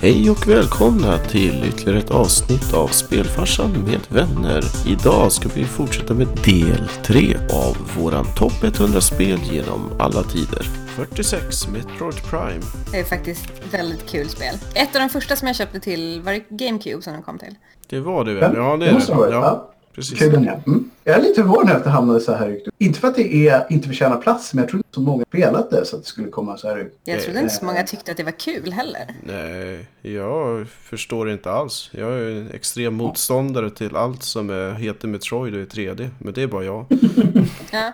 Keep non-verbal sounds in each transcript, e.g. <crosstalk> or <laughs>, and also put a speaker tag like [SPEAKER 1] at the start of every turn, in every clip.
[SPEAKER 1] Hej och välkomna till ytterligare ett avsnitt av Spelfarsan med vänner. Idag ska vi fortsätta med del 3 av våran topp 100-spel genom alla tider. 46 Metroid Prime.
[SPEAKER 2] Det är faktiskt ett väldigt kul spel. Ett av de första som jag köpte till var det GameCube som den kom till.
[SPEAKER 1] Det var det väl? Ja, det är
[SPEAKER 3] måste
[SPEAKER 1] det.
[SPEAKER 3] ha varit,
[SPEAKER 1] Ja,
[SPEAKER 3] ja.
[SPEAKER 1] precis.
[SPEAKER 3] Kul den är. Mm. Jag är lite förvånad att det hamnade så här högt upp. Inte för att det är, inte förtjänar plats, men jag tror inte så många spelat det så att det skulle komma så här högt.
[SPEAKER 2] Jag
[SPEAKER 1] Det-
[SPEAKER 2] trodde inte så många tyckte att det var kul heller.
[SPEAKER 1] Nej, jag förstår inte alls. Jag är en extrem motståndare till allt som är, heter Metroid och är 3D. Men det är bara jag.
[SPEAKER 2] Ja.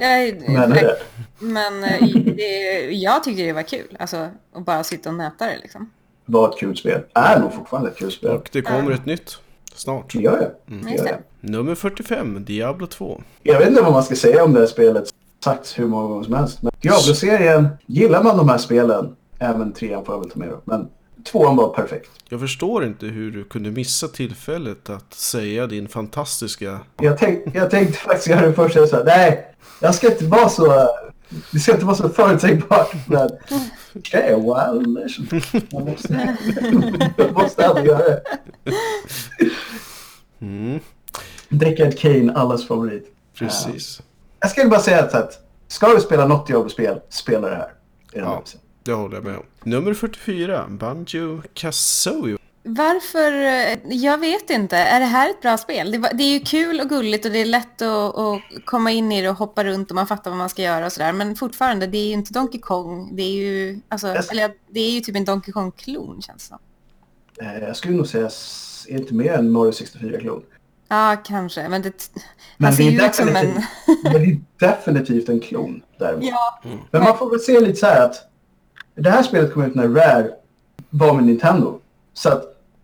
[SPEAKER 2] Jag,
[SPEAKER 3] Men det är det.
[SPEAKER 2] men eh, det, jag tyckte det var kul. Alltså att bara sitta och nöta det liksom.
[SPEAKER 3] var ett kul spel. Är nog fortfarande ett kul spel.
[SPEAKER 1] Och det kommer ett nytt snart.
[SPEAKER 3] Det gör jag.
[SPEAKER 1] Mm.
[SPEAKER 3] Det
[SPEAKER 2] Just
[SPEAKER 3] gör
[SPEAKER 2] det.
[SPEAKER 3] jag.
[SPEAKER 1] Nummer 45, Diablo 2.
[SPEAKER 3] jag vet inte vad man ska säga om det här spelet. Sagt hur många gånger som helst. Men Diablo-serien, gillar man de här spelen, även trean får jag väl ta med då, men tvåan var perfekt.
[SPEAKER 1] Jag förstår inte hur du kunde missa tillfället att säga din fantastiska...
[SPEAKER 3] Jag, tänk, jag tänkte faktiskt göra det först. Jag sa nej, jag ska inte vara så... Det ska inte vara så förutsägbart. Men okej, well... Man måste, jag måste ändå göra det.
[SPEAKER 1] Mm,
[SPEAKER 3] Deckard Kane, allas favorit.
[SPEAKER 1] precis.
[SPEAKER 3] Jag skulle bara säga att, att ska du spela något Diablo-spel, spela det här. Det är det
[SPEAKER 1] Ja.
[SPEAKER 3] jag vill säga.
[SPEAKER 1] Det håller jag med om. Nummer 44, Banjo Kazooie.
[SPEAKER 2] Varför? eh, Jag vet inte. Är det här ett bra spel? Det, var, det är ju kul och gulligt och det är lätt att, att komma in i det och hoppa runt och man fattar vad man ska göra och sådär. Men fortfarande, det är ju inte Donkey Kong. Det är ju, alltså,
[SPEAKER 3] Yes.
[SPEAKER 2] eller, det är ju typ en Donkey Kong-klon känns det som.
[SPEAKER 3] Eh, Jag skulle nog säga, s- är inte mer än Mario 64-klon.
[SPEAKER 2] Ja, kanske. Men det,
[SPEAKER 3] Men
[SPEAKER 2] han
[SPEAKER 3] det
[SPEAKER 2] ser
[SPEAKER 3] är
[SPEAKER 2] ju ut som en...
[SPEAKER 3] definitivt- Men det är definitivt en klon
[SPEAKER 2] <laughs>
[SPEAKER 3] däremot.
[SPEAKER 2] Ja,
[SPEAKER 3] Men man får väl se lite så här att det här spelet kom ut när Rare var med Nintendo. Så att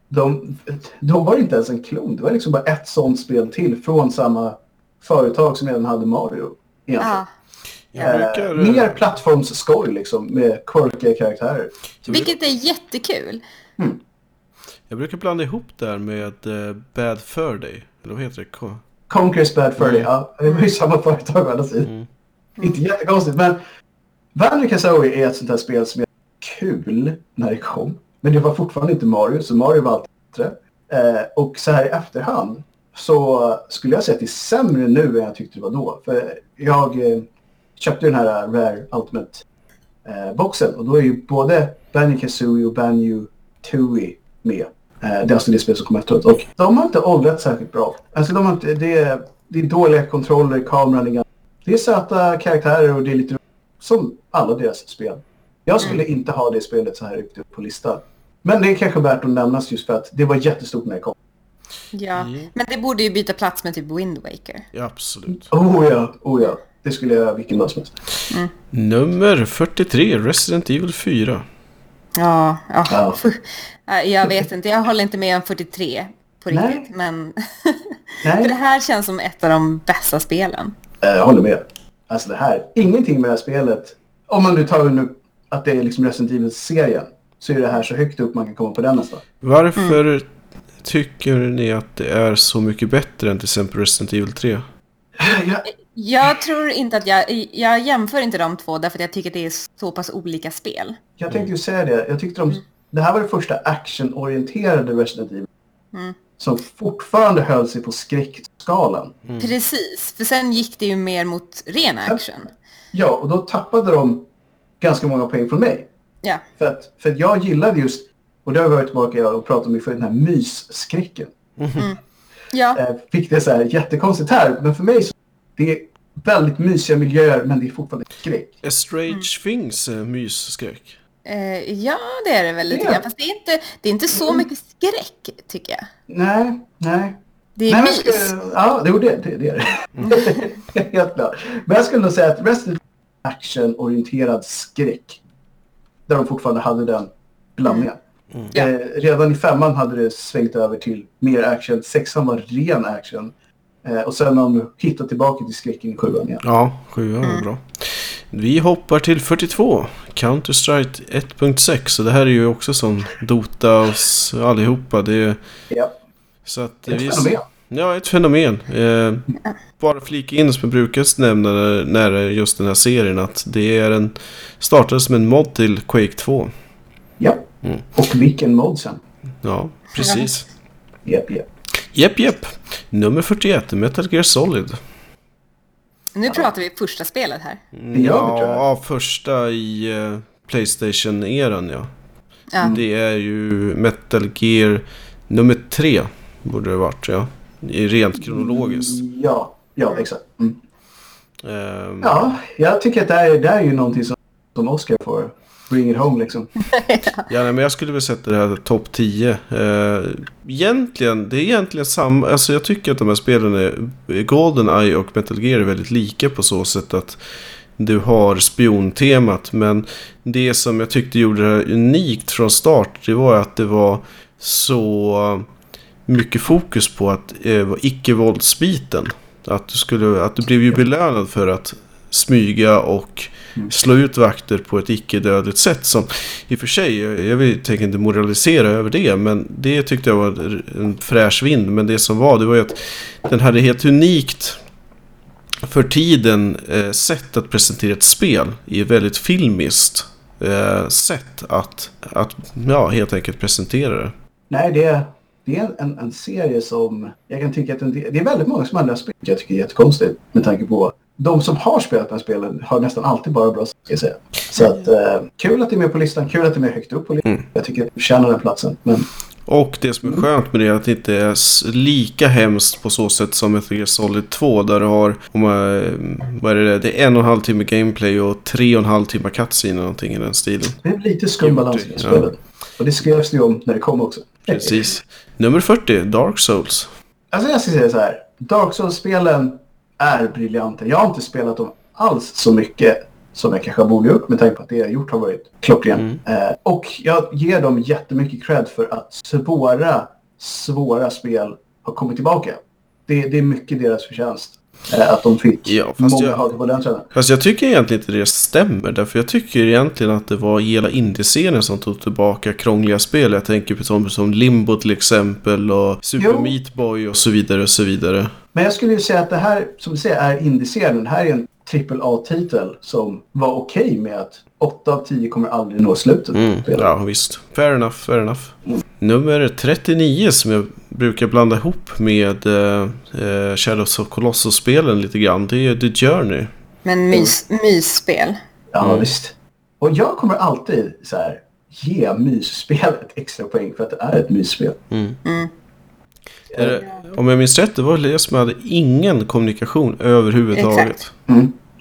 [SPEAKER 3] de, de var inte ens en klon. Det var liksom bara ett sånt spel till från samma företag som redan hade Mario.
[SPEAKER 2] ja.
[SPEAKER 3] egentligen.
[SPEAKER 1] Jag
[SPEAKER 3] Eh,
[SPEAKER 1] brukar...
[SPEAKER 3] mer plattformsskoj liksom med quirkiga karaktärer.
[SPEAKER 2] Vilket är jättekul.
[SPEAKER 1] Jag brukar blanda ihop det här med eh, Bad Fur Day. Eller vad heter det? Ko-
[SPEAKER 3] Conquer's Bad Furry, ja. Det var ju samma företag å andra sidan. Inte jättekonstigt, men Banjo Kazooie är ett sånt här spel som är kul när det kom. Men det var fortfarande inte Mario, så Mario var alltid bättre. Eh, och så här i efterhand så skulle jag säga att det är sämre nu än jag tyckte det var då. För jag eh, köpte den här Rare Ultimate-boxen eh, och då är ju både Banjo Kazooie och Banjo Tooie med. Eh, det är alltså det spel som kom efteråt. Och de har inte åldrats särskilt bra. Alltså de har inte, det, är, det är dåliga kontroller, kameran är ganska... Det är söta karaktärer och det är lite... Som alla deras spel. Jag skulle inte ha det spelet så här högt upp på listan. Men det är kanske värt att nämnas just för att det var jättestort när det kom.
[SPEAKER 2] Ja.
[SPEAKER 1] Mm.
[SPEAKER 2] Men det borde ju byta plats med typ Wind Waker.
[SPEAKER 1] Ja, absolut.
[SPEAKER 3] Oh ja, oh ja. Det skulle jag göra vilken dag som helst.
[SPEAKER 1] Nummer 43, Resident Evil 4.
[SPEAKER 2] Ja, ja.
[SPEAKER 3] Ja.
[SPEAKER 2] <laughs> Fuh. Äh, Jag vet inte, jag håller inte med om 43 på
[SPEAKER 3] Nej.
[SPEAKER 2] riktigt. Men <laughs> för
[SPEAKER 3] Nej,
[SPEAKER 2] det här känns som ett av de bästa spelen.
[SPEAKER 3] eh, jag håller med. Alltså det här, ingenting med det här spelet. Om man nu tar nu att det är liksom Resident Evil-serien. Så är det här så högt upp man kan komma på den nästan.
[SPEAKER 1] Varför
[SPEAKER 3] Mm.
[SPEAKER 1] tycker ni att det är så mycket bättre än till exempel Resident Evil 3?
[SPEAKER 3] Jag,
[SPEAKER 2] Jag tror inte att jag, jag jämför inte de två därför att jag tycker att det är så pass olika spel.
[SPEAKER 3] Jag tänkte ju säga det. Jag tyckte de, Det här var det första actionorienterade Resident Evil.
[SPEAKER 2] Mm.
[SPEAKER 3] Som fortfarande höll sig på skräckskalan.
[SPEAKER 2] Precis, för sen gick det ju mer mot ren action.
[SPEAKER 3] Ja, och då tappade de ganska många poäng från mig.
[SPEAKER 2] Ja,
[SPEAKER 3] För att, för att jag gillade just, och det har vi varit tillbaka och pratat om i förut, den här mysskräcken.
[SPEAKER 2] ja.
[SPEAKER 3] Eh, fick det så här jättekonstigt här, men för mig så det är väldigt mysiga miljöer, men det är fortfarande skräck. Mm.
[SPEAKER 1] Estrange Things eh, mysskräck.
[SPEAKER 2] Eh, ja, det är det väl lite
[SPEAKER 3] Ja. Mm.
[SPEAKER 2] grann. Fast det är, inte, det är inte så mycket skräck, tycker jag.
[SPEAKER 3] Nej, nej.
[SPEAKER 2] Det är
[SPEAKER 3] Nej, men
[SPEAKER 2] mys. Mm.
[SPEAKER 3] jag skulle, ja, det, jo, det, det, det är det. <laughs> Helt klart. Men jag skulle nog säga att Resident Evil är actionorienterad skräck. Där de fortfarande hade den blandningen.
[SPEAKER 2] Mm. Ja.
[SPEAKER 3] Eh, redan i femman hade det svängt över till mer action. Sexan var ren action. Eh, och sen har de hittat tillbaka till skräcken i sjuan igen.
[SPEAKER 1] Ja, 7 var
[SPEAKER 3] Mm.
[SPEAKER 1] bra. Vi hoppar till 42. Counter-Strike 1.6. Så det här är ju också som Dota och s- allihopa. Det är,
[SPEAKER 3] Ja.
[SPEAKER 1] så att
[SPEAKER 3] Ett
[SPEAKER 1] vi-
[SPEAKER 3] fenomen.
[SPEAKER 1] Ja, ett fenomen. Eh, bara flika in som jag brukar nämna när- när det är just den här serien att det är en startade som en mod till Quake 2.
[SPEAKER 3] Ja.
[SPEAKER 1] Mm.
[SPEAKER 3] Och vilken mod sen.
[SPEAKER 1] Ja, precis.
[SPEAKER 3] Japp, japp.
[SPEAKER 1] Jepp, jepp. Nummer 41, Metal Gear Solid.
[SPEAKER 2] Nu pratar vi första spelet här.
[SPEAKER 3] Det gör vi tror jag.
[SPEAKER 1] Ja, första i eh, Playstation-eran ja. Mm.
[SPEAKER 2] Ja.
[SPEAKER 1] Det är ju Metal Gear nummer tre. Borde det varit ja. I Rent kronologiskt.
[SPEAKER 3] Ja, ja exakt. Mm.
[SPEAKER 1] Ehm,
[SPEAKER 3] Ja, jag tycker att det här, det här är ju någonting som, som Oscar får bring it home liksom.
[SPEAKER 1] Ja, nej, men jag skulle väl sätta det här topp 10. Eh, egentligen, det är egentligen samma. Alltså jag tycker att de här spelen är... Goldeneye och Metal Gear är väldigt lika på så sätt att du har spiontemat. Men det som jag tyckte gjorde det här unikt från start, det var att det var så mycket fokus på att eh, vara icke-våldsbiten. Att du, skulle, att du blev ju belönad för att smyga och slå ut vakter på ett icke-dödligt sätt. Som i och för sig, jag, jag vill- tänker inte moralisera över det, men det tyckte jag var en fräsch vind. Men det som var, det var ju att den hade helt unikt för tiden eh, sätt att presentera ett spel i ett väldigt filmiskt eh, sätt att, att ja, helt enkelt presentera det.
[SPEAKER 3] Nej, det är, det är en, en serie som jag kan tycka att den, det är väldigt många som aldrig har spelat. Jag tycker det är jättekonstigt med tanke på de som har spelat den här spelen har nästan alltid bara bra saker att säga. Så att, eh, kul att det är med på listan, kul att det är med högt upp på listan.
[SPEAKER 1] Mm.
[SPEAKER 3] Jag tycker att det förtjänar den platsen. Men
[SPEAKER 1] Och det som är skönt med det är att det inte är s- lika hemskt på så sätt som Metal Gear Solid 2 där du har om man, vad är det, det är en och en halv timme gameplay och tre och en halv timme cutscene eller någonting i den stilen.
[SPEAKER 3] det är lite skum balans i
[SPEAKER 1] Ja.
[SPEAKER 3] det spelet. Och det skrevs det ju om när det kom också.
[SPEAKER 1] Precis. Nummer 40, Dark Souls.
[SPEAKER 3] Alltså jag ska säga så här. Dark Souls-spelen är briljanta. Jag har inte spelat dem alls så mycket som jag kanske borde gjort med tanke på att det jag gjort har varit klockrent.
[SPEAKER 1] Mm.
[SPEAKER 3] Eh, och jag ger dem jättemycket cred för att svåra, svåra spel har kommit tillbaka. Det, det är mycket deras förtjänst eh, att de fick
[SPEAKER 1] Ja, fast
[SPEAKER 3] många
[SPEAKER 1] jag-
[SPEAKER 3] hakar på den trenden.
[SPEAKER 1] Fast Alltså, jag tycker egentligen inte det stämmer. Därför jag tycker egentligen att det var hela indiescenen som tog tillbaka krångliga spel. Jag tänker på som, som Limbo till exempel och Super
[SPEAKER 3] Jo.
[SPEAKER 1] Meat Boy och så vidare och så vidare.
[SPEAKER 3] Men jag skulle ju säga att det här, som du säger, är indie-serien. Det här är en AAA-titel som var okej med att 8 av 10 kommer aldrig nå slutet. på spelet.
[SPEAKER 1] Mm. Ja, visst. Fair enough, fair enough. Nummer 39 som jag brukar blanda ihop med eh, eh, Shadows of Colossus-spelen lite grann. Det är The Journey.
[SPEAKER 3] Mm.
[SPEAKER 2] Men mys, mysspel.
[SPEAKER 3] Ja, visst. Och jag kommer alltid så här, ge mysspelet <laughs> extra poäng för att det är ett mysspel.
[SPEAKER 1] Är det, om jag minns rätt, det var det som hade ingen kommunikation överhuvudtaget.
[SPEAKER 2] Exakt.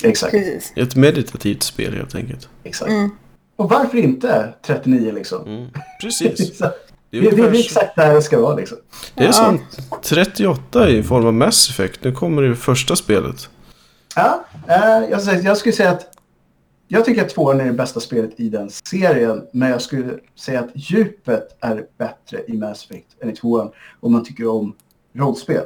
[SPEAKER 3] Exakt.
[SPEAKER 2] Precis.
[SPEAKER 1] Ett meditativt spel helt enkelt.
[SPEAKER 3] exakt. Och varför inte 39 liksom?
[SPEAKER 1] Precis.
[SPEAKER 3] <laughs> Så,
[SPEAKER 1] Det
[SPEAKER 3] det,
[SPEAKER 1] är
[SPEAKER 3] det, är
[SPEAKER 1] ungefär så.
[SPEAKER 3] exakt där det ska vara liksom.
[SPEAKER 1] Det är sant. 38 i form av Mass Effect. Nu kommer det första spelet.
[SPEAKER 3] Ja, eh, jag, skulle säga- jag skulle säga att jag tycker att tvåan är det bästa spelet i den serien. Men jag skulle säga att djupet är bättre i Mass Effect än i tvåan om man tycker om rollspel.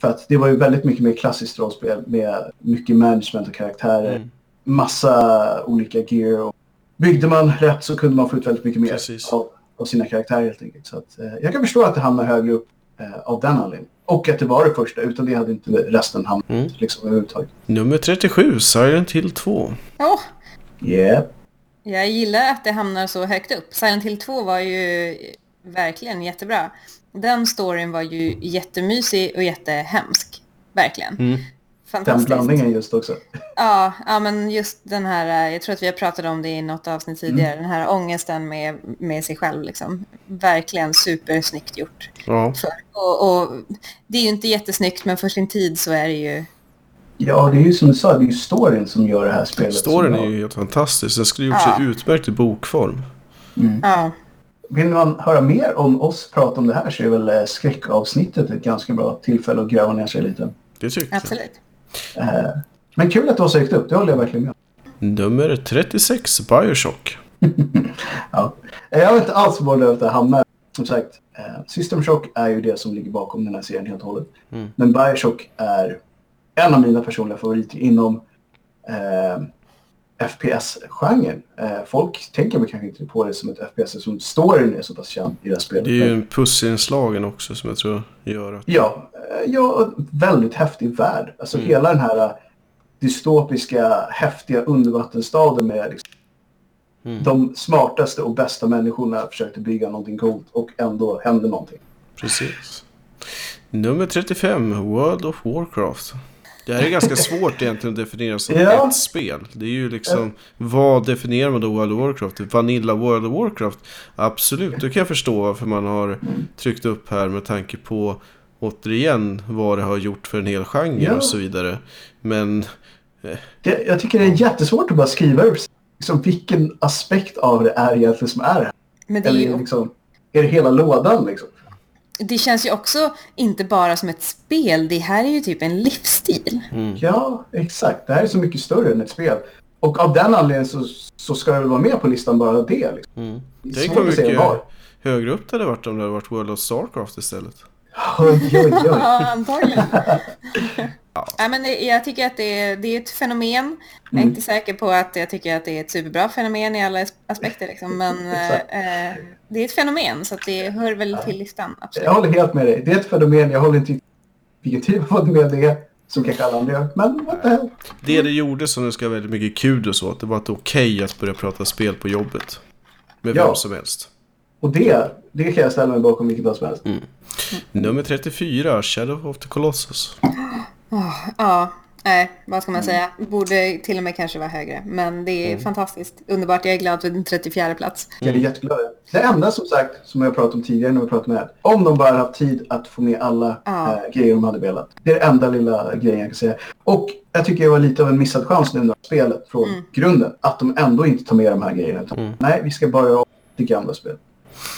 [SPEAKER 3] För att det var ju väldigt mycket mer klassiskt rollspel med mycket management och karaktärer. Massa olika gear. Och byggde man rätt så kunde man få ut väldigt mycket mer
[SPEAKER 1] Precis.
[SPEAKER 3] av, av sina karaktärer helt enkelt. Så att, eh, jag kan förstå att det hamnar högre upp eh, av den anledningen. Och att det var det första. Utan det hade inte resten hamnat liksom, överhuvudtaget.
[SPEAKER 1] Nummer 37, Silent Hill 2.
[SPEAKER 2] Åh,
[SPEAKER 3] Yeah.
[SPEAKER 2] jag gillar att det hamnar så högt upp. Silent Hill 2 var ju verkligen jättebra. Den storyn var ju jättemysig och jättehemsk. Verkligen.
[SPEAKER 3] Den
[SPEAKER 2] Fantastiskt.
[SPEAKER 3] blandningen just också.
[SPEAKER 2] Ja, ja, men just den här, eh, jag tror att vi har pratat om det i något avsnitt
[SPEAKER 3] Mm.
[SPEAKER 2] tidigare, den här ångesten med, med sig själv. Liksom. Verkligen supersnyggt gjort.
[SPEAKER 1] Ja.
[SPEAKER 2] För. Och, och det är ju inte jättesnyggt, men för sin tid så är det ju...
[SPEAKER 3] Ja, det är ju som du sa, det är ju storyn som gör det här spelet.
[SPEAKER 1] Storyn
[SPEAKER 3] så bra.
[SPEAKER 1] är ju helt fantastisk. Den skulle gjort sig
[SPEAKER 2] Ja.
[SPEAKER 1] utmärkt i bokform.
[SPEAKER 3] Mm.
[SPEAKER 2] Ja,
[SPEAKER 3] Vill man höra mer om oss prata om det här så är väl eh, skräckavsnittet ett ganska bra tillfälle att gräva ner sig lite.
[SPEAKER 1] Det tycker jag.
[SPEAKER 2] absolut.
[SPEAKER 3] Men kul att du har sökt upp, det håller jag verkligen med om.
[SPEAKER 1] Nummer 36, Bioshock.
[SPEAKER 3] ja. Eh, Jag vet inte alls var det här hamnar. Som sagt, eh, System Shock är ju det som ligger bakom den här serien helt och hållet. Men Bioshock är en av mina personliga favoriter inom eh, FPS-genren. Eh, folk tänker väl kanske inte på det som ett FPS eftersom storyn är så pass känd i det här spelet.
[SPEAKER 1] Det är ju en pussinslagen också som jag tror gör att...
[SPEAKER 3] Ja, eh, ja och en väldigt häftig värld. Alltså hela den här eh, dystopiska, häftiga undervattensstaden med liksom,
[SPEAKER 1] Mm.
[SPEAKER 3] De smartaste och bästa människorna försökte bygga någonting coolt och ändå hände någonting.
[SPEAKER 1] Precis. Nummer 35, World of Warcraft. Det här är
[SPEAKER 3] <laughs>
[SPEAKER 1] ganska svårt egentligen att definiera som
[SPEAKER 3] Ja.
[SPEAKER 1] ett spel. Det är ju liksom, vad definierar man då World of Warcraft? Vanilla World of Warcraft? Absolut, då kan jag förstå varför man har tryckt upp här med tanke på återigen vad det har gjort för en hel genre
[SPEAKER 3] Ja.
[SPEAKER 1] och så vidare. Men
[SPEAKER 3] Det, jag tycker det är jättesvårt att bara skriva ur liksom, vilken aspekt av det är egentligen som är det.
[SPEAKER 2] Men det, är
[SPEAKER 3] Eller
[SPEAKER 2] ju,
[SPEAKER 3] liksom, är det hela lådan liksom?
[SPEAKER 2] det känns ju också inte bara som ett spel, det här är ju typ en livsstil.
[SPEAKER 3] Ja, exakt. Det här är så mycket större än ett spel. Och av den anledningen så, så ska jag väl vara med på listan bara det. Liksom. Det är
[SPEAKER 1] tänk
[SPEAKER 3] svårt
[SPEAKER 1] vad
[SPEAKER 3] att säga
[SPEAKER 1] mycket
[SPEAKER 3] var.
[SPEAKER 1] högre upp det hade varit om det hade varit World of Starcraft istället.
[SPEAKER 3] Oj, oj, oj.
[SPEAKER 2] Ja, antagligen. <laughs> ja, men det- jag tycker att det är, det är ett fenomen. Jag är inte säker på att jag tycker att det är ett superbra fenomen i alla as- aspekter. Liksom, men eh,
[SPEAKER 3] Exakt.
[SPEAKER 2] eh, det är ett fenomen, så att det hör väl till listan. Absolut.
[SPEAKER 3] Jag håller helt med dig. Det är ett fenomen. Jag håller inte riktigt vilken typ av fenomen det är. Som kanske alla andra gör. Men what the hell.
[SPEAKER 1] Det det gjorde som det ska ha väldigt mycket kudos åt, det var att det var okej att börja prata spel på jobbet. Med
[SPEAKER 3] Ja.
[SPEAKER 1] vem som helst.
[SPEAKER 3] Och det, det kan jag ställa mig bakom vilket dag som helst.
[SPEAKER 1] Nummer 34, Shadow of the Colossus.
[SPEAKER 2] Ja, nej, vad ska man säga? Borde till och med kanske vara högre. Men det är fantastiskt underbart. Jag är glad för den 34 plats.
[SPEAKER 3] Jag är jätteglad. Det enda som sagt, som jag pratat om tidigare när vi pratade med Ed, om de bara haft tid att få med alla
[SPEAKER 2] Ja.
[SPEAKER 3] eh, grejer de hade velat. Det är det enda lilla grejen jag kan säga. Och jag tycker det var lite av en missad chans nu när spelet från grunden, att de ändå inte tar med de här grejerna. Utan, Nej, vi ska bara göra om det gamla spelet.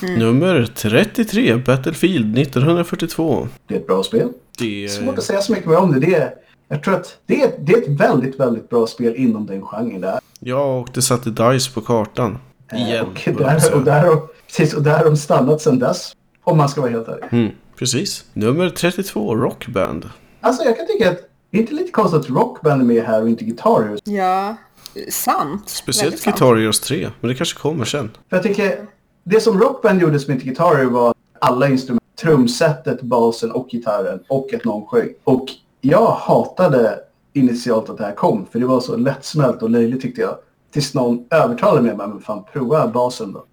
[SPEAKER 1] Nummer 33, Battlefield 1942.
[SPEAKER 3] Det är ett bra spel.
[SPEAKER 1] Det
[SPEAKER 3] Svårt att säga så mycket mer om det. det är, jag tror att det är, det är ett väldigt, väldigt bra spel inom den genren där. Eh,
[SPEAKER 1] Ja, och det satte DICE på kartan.
[SPEAKER 3] Äh,
[SPEAKER 1] Igen. Alltså,
[SPEAKER 3] Och
[SPEAKER 1] höll jag på att
[SPEAKER 3] där,
[SPEAKER 1] säga.
[SPEAKER 3] och, där, har- precis, och där har de stannat sedan dess. Om man ska vara helt ärlig.
[SPEAKER 1] Mm, precis. Nummer 32, Rockband.
[SPEAKER 3] Alltså jag kan tycka att det är inte lite konstigt att rockband är med här och inte gitarrer.
[SPEAKER 2] Ja, sant.
[SPEAKER 1] Speciellt
[SPEAKER 2] Väldigt sant.
[SPEAKER 1] Guitar Heroes 3, men det kanske kommer sen.
[SPEAKER 3] För jag tycker det som rockband gjorde som inte gitarrer var alla instrument. Trumsetet, basen och gitarren och att någon sjöng. Och jag hatade initialt att det här kom för det var så lättsmält och löjligt tyckte jag. Tills någon övertalade mig men fan prova basen då.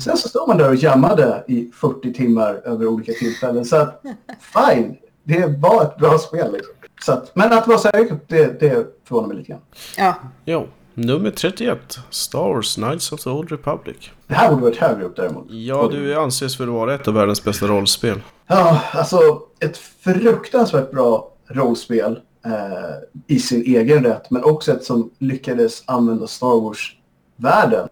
[SPEAKER 3] Sen så står man där och jammade i 40 timmar över olika tillfällen. Så att fine, det var ett bra spel liksom. Så att, men att det var så här högt upp, det, det förvånar mig lite grann.
[SPEAKER 2] Ja, <laughs>
[SPEAKER 1] Jo. Nummer 31, Star Wars Knights of the Old Republic.
[SPEAKER 3] Det här borde varit högre upp däremot.
[SPEAKER 1] Ja, du anses väl vara ett av världens bästa rollspel.
[SPEAKER 3] Ja, alltså ett fruktansvärt bra rollspel eh, i sin egen rätt. Men också ett som lyckades använda Star Wars-världen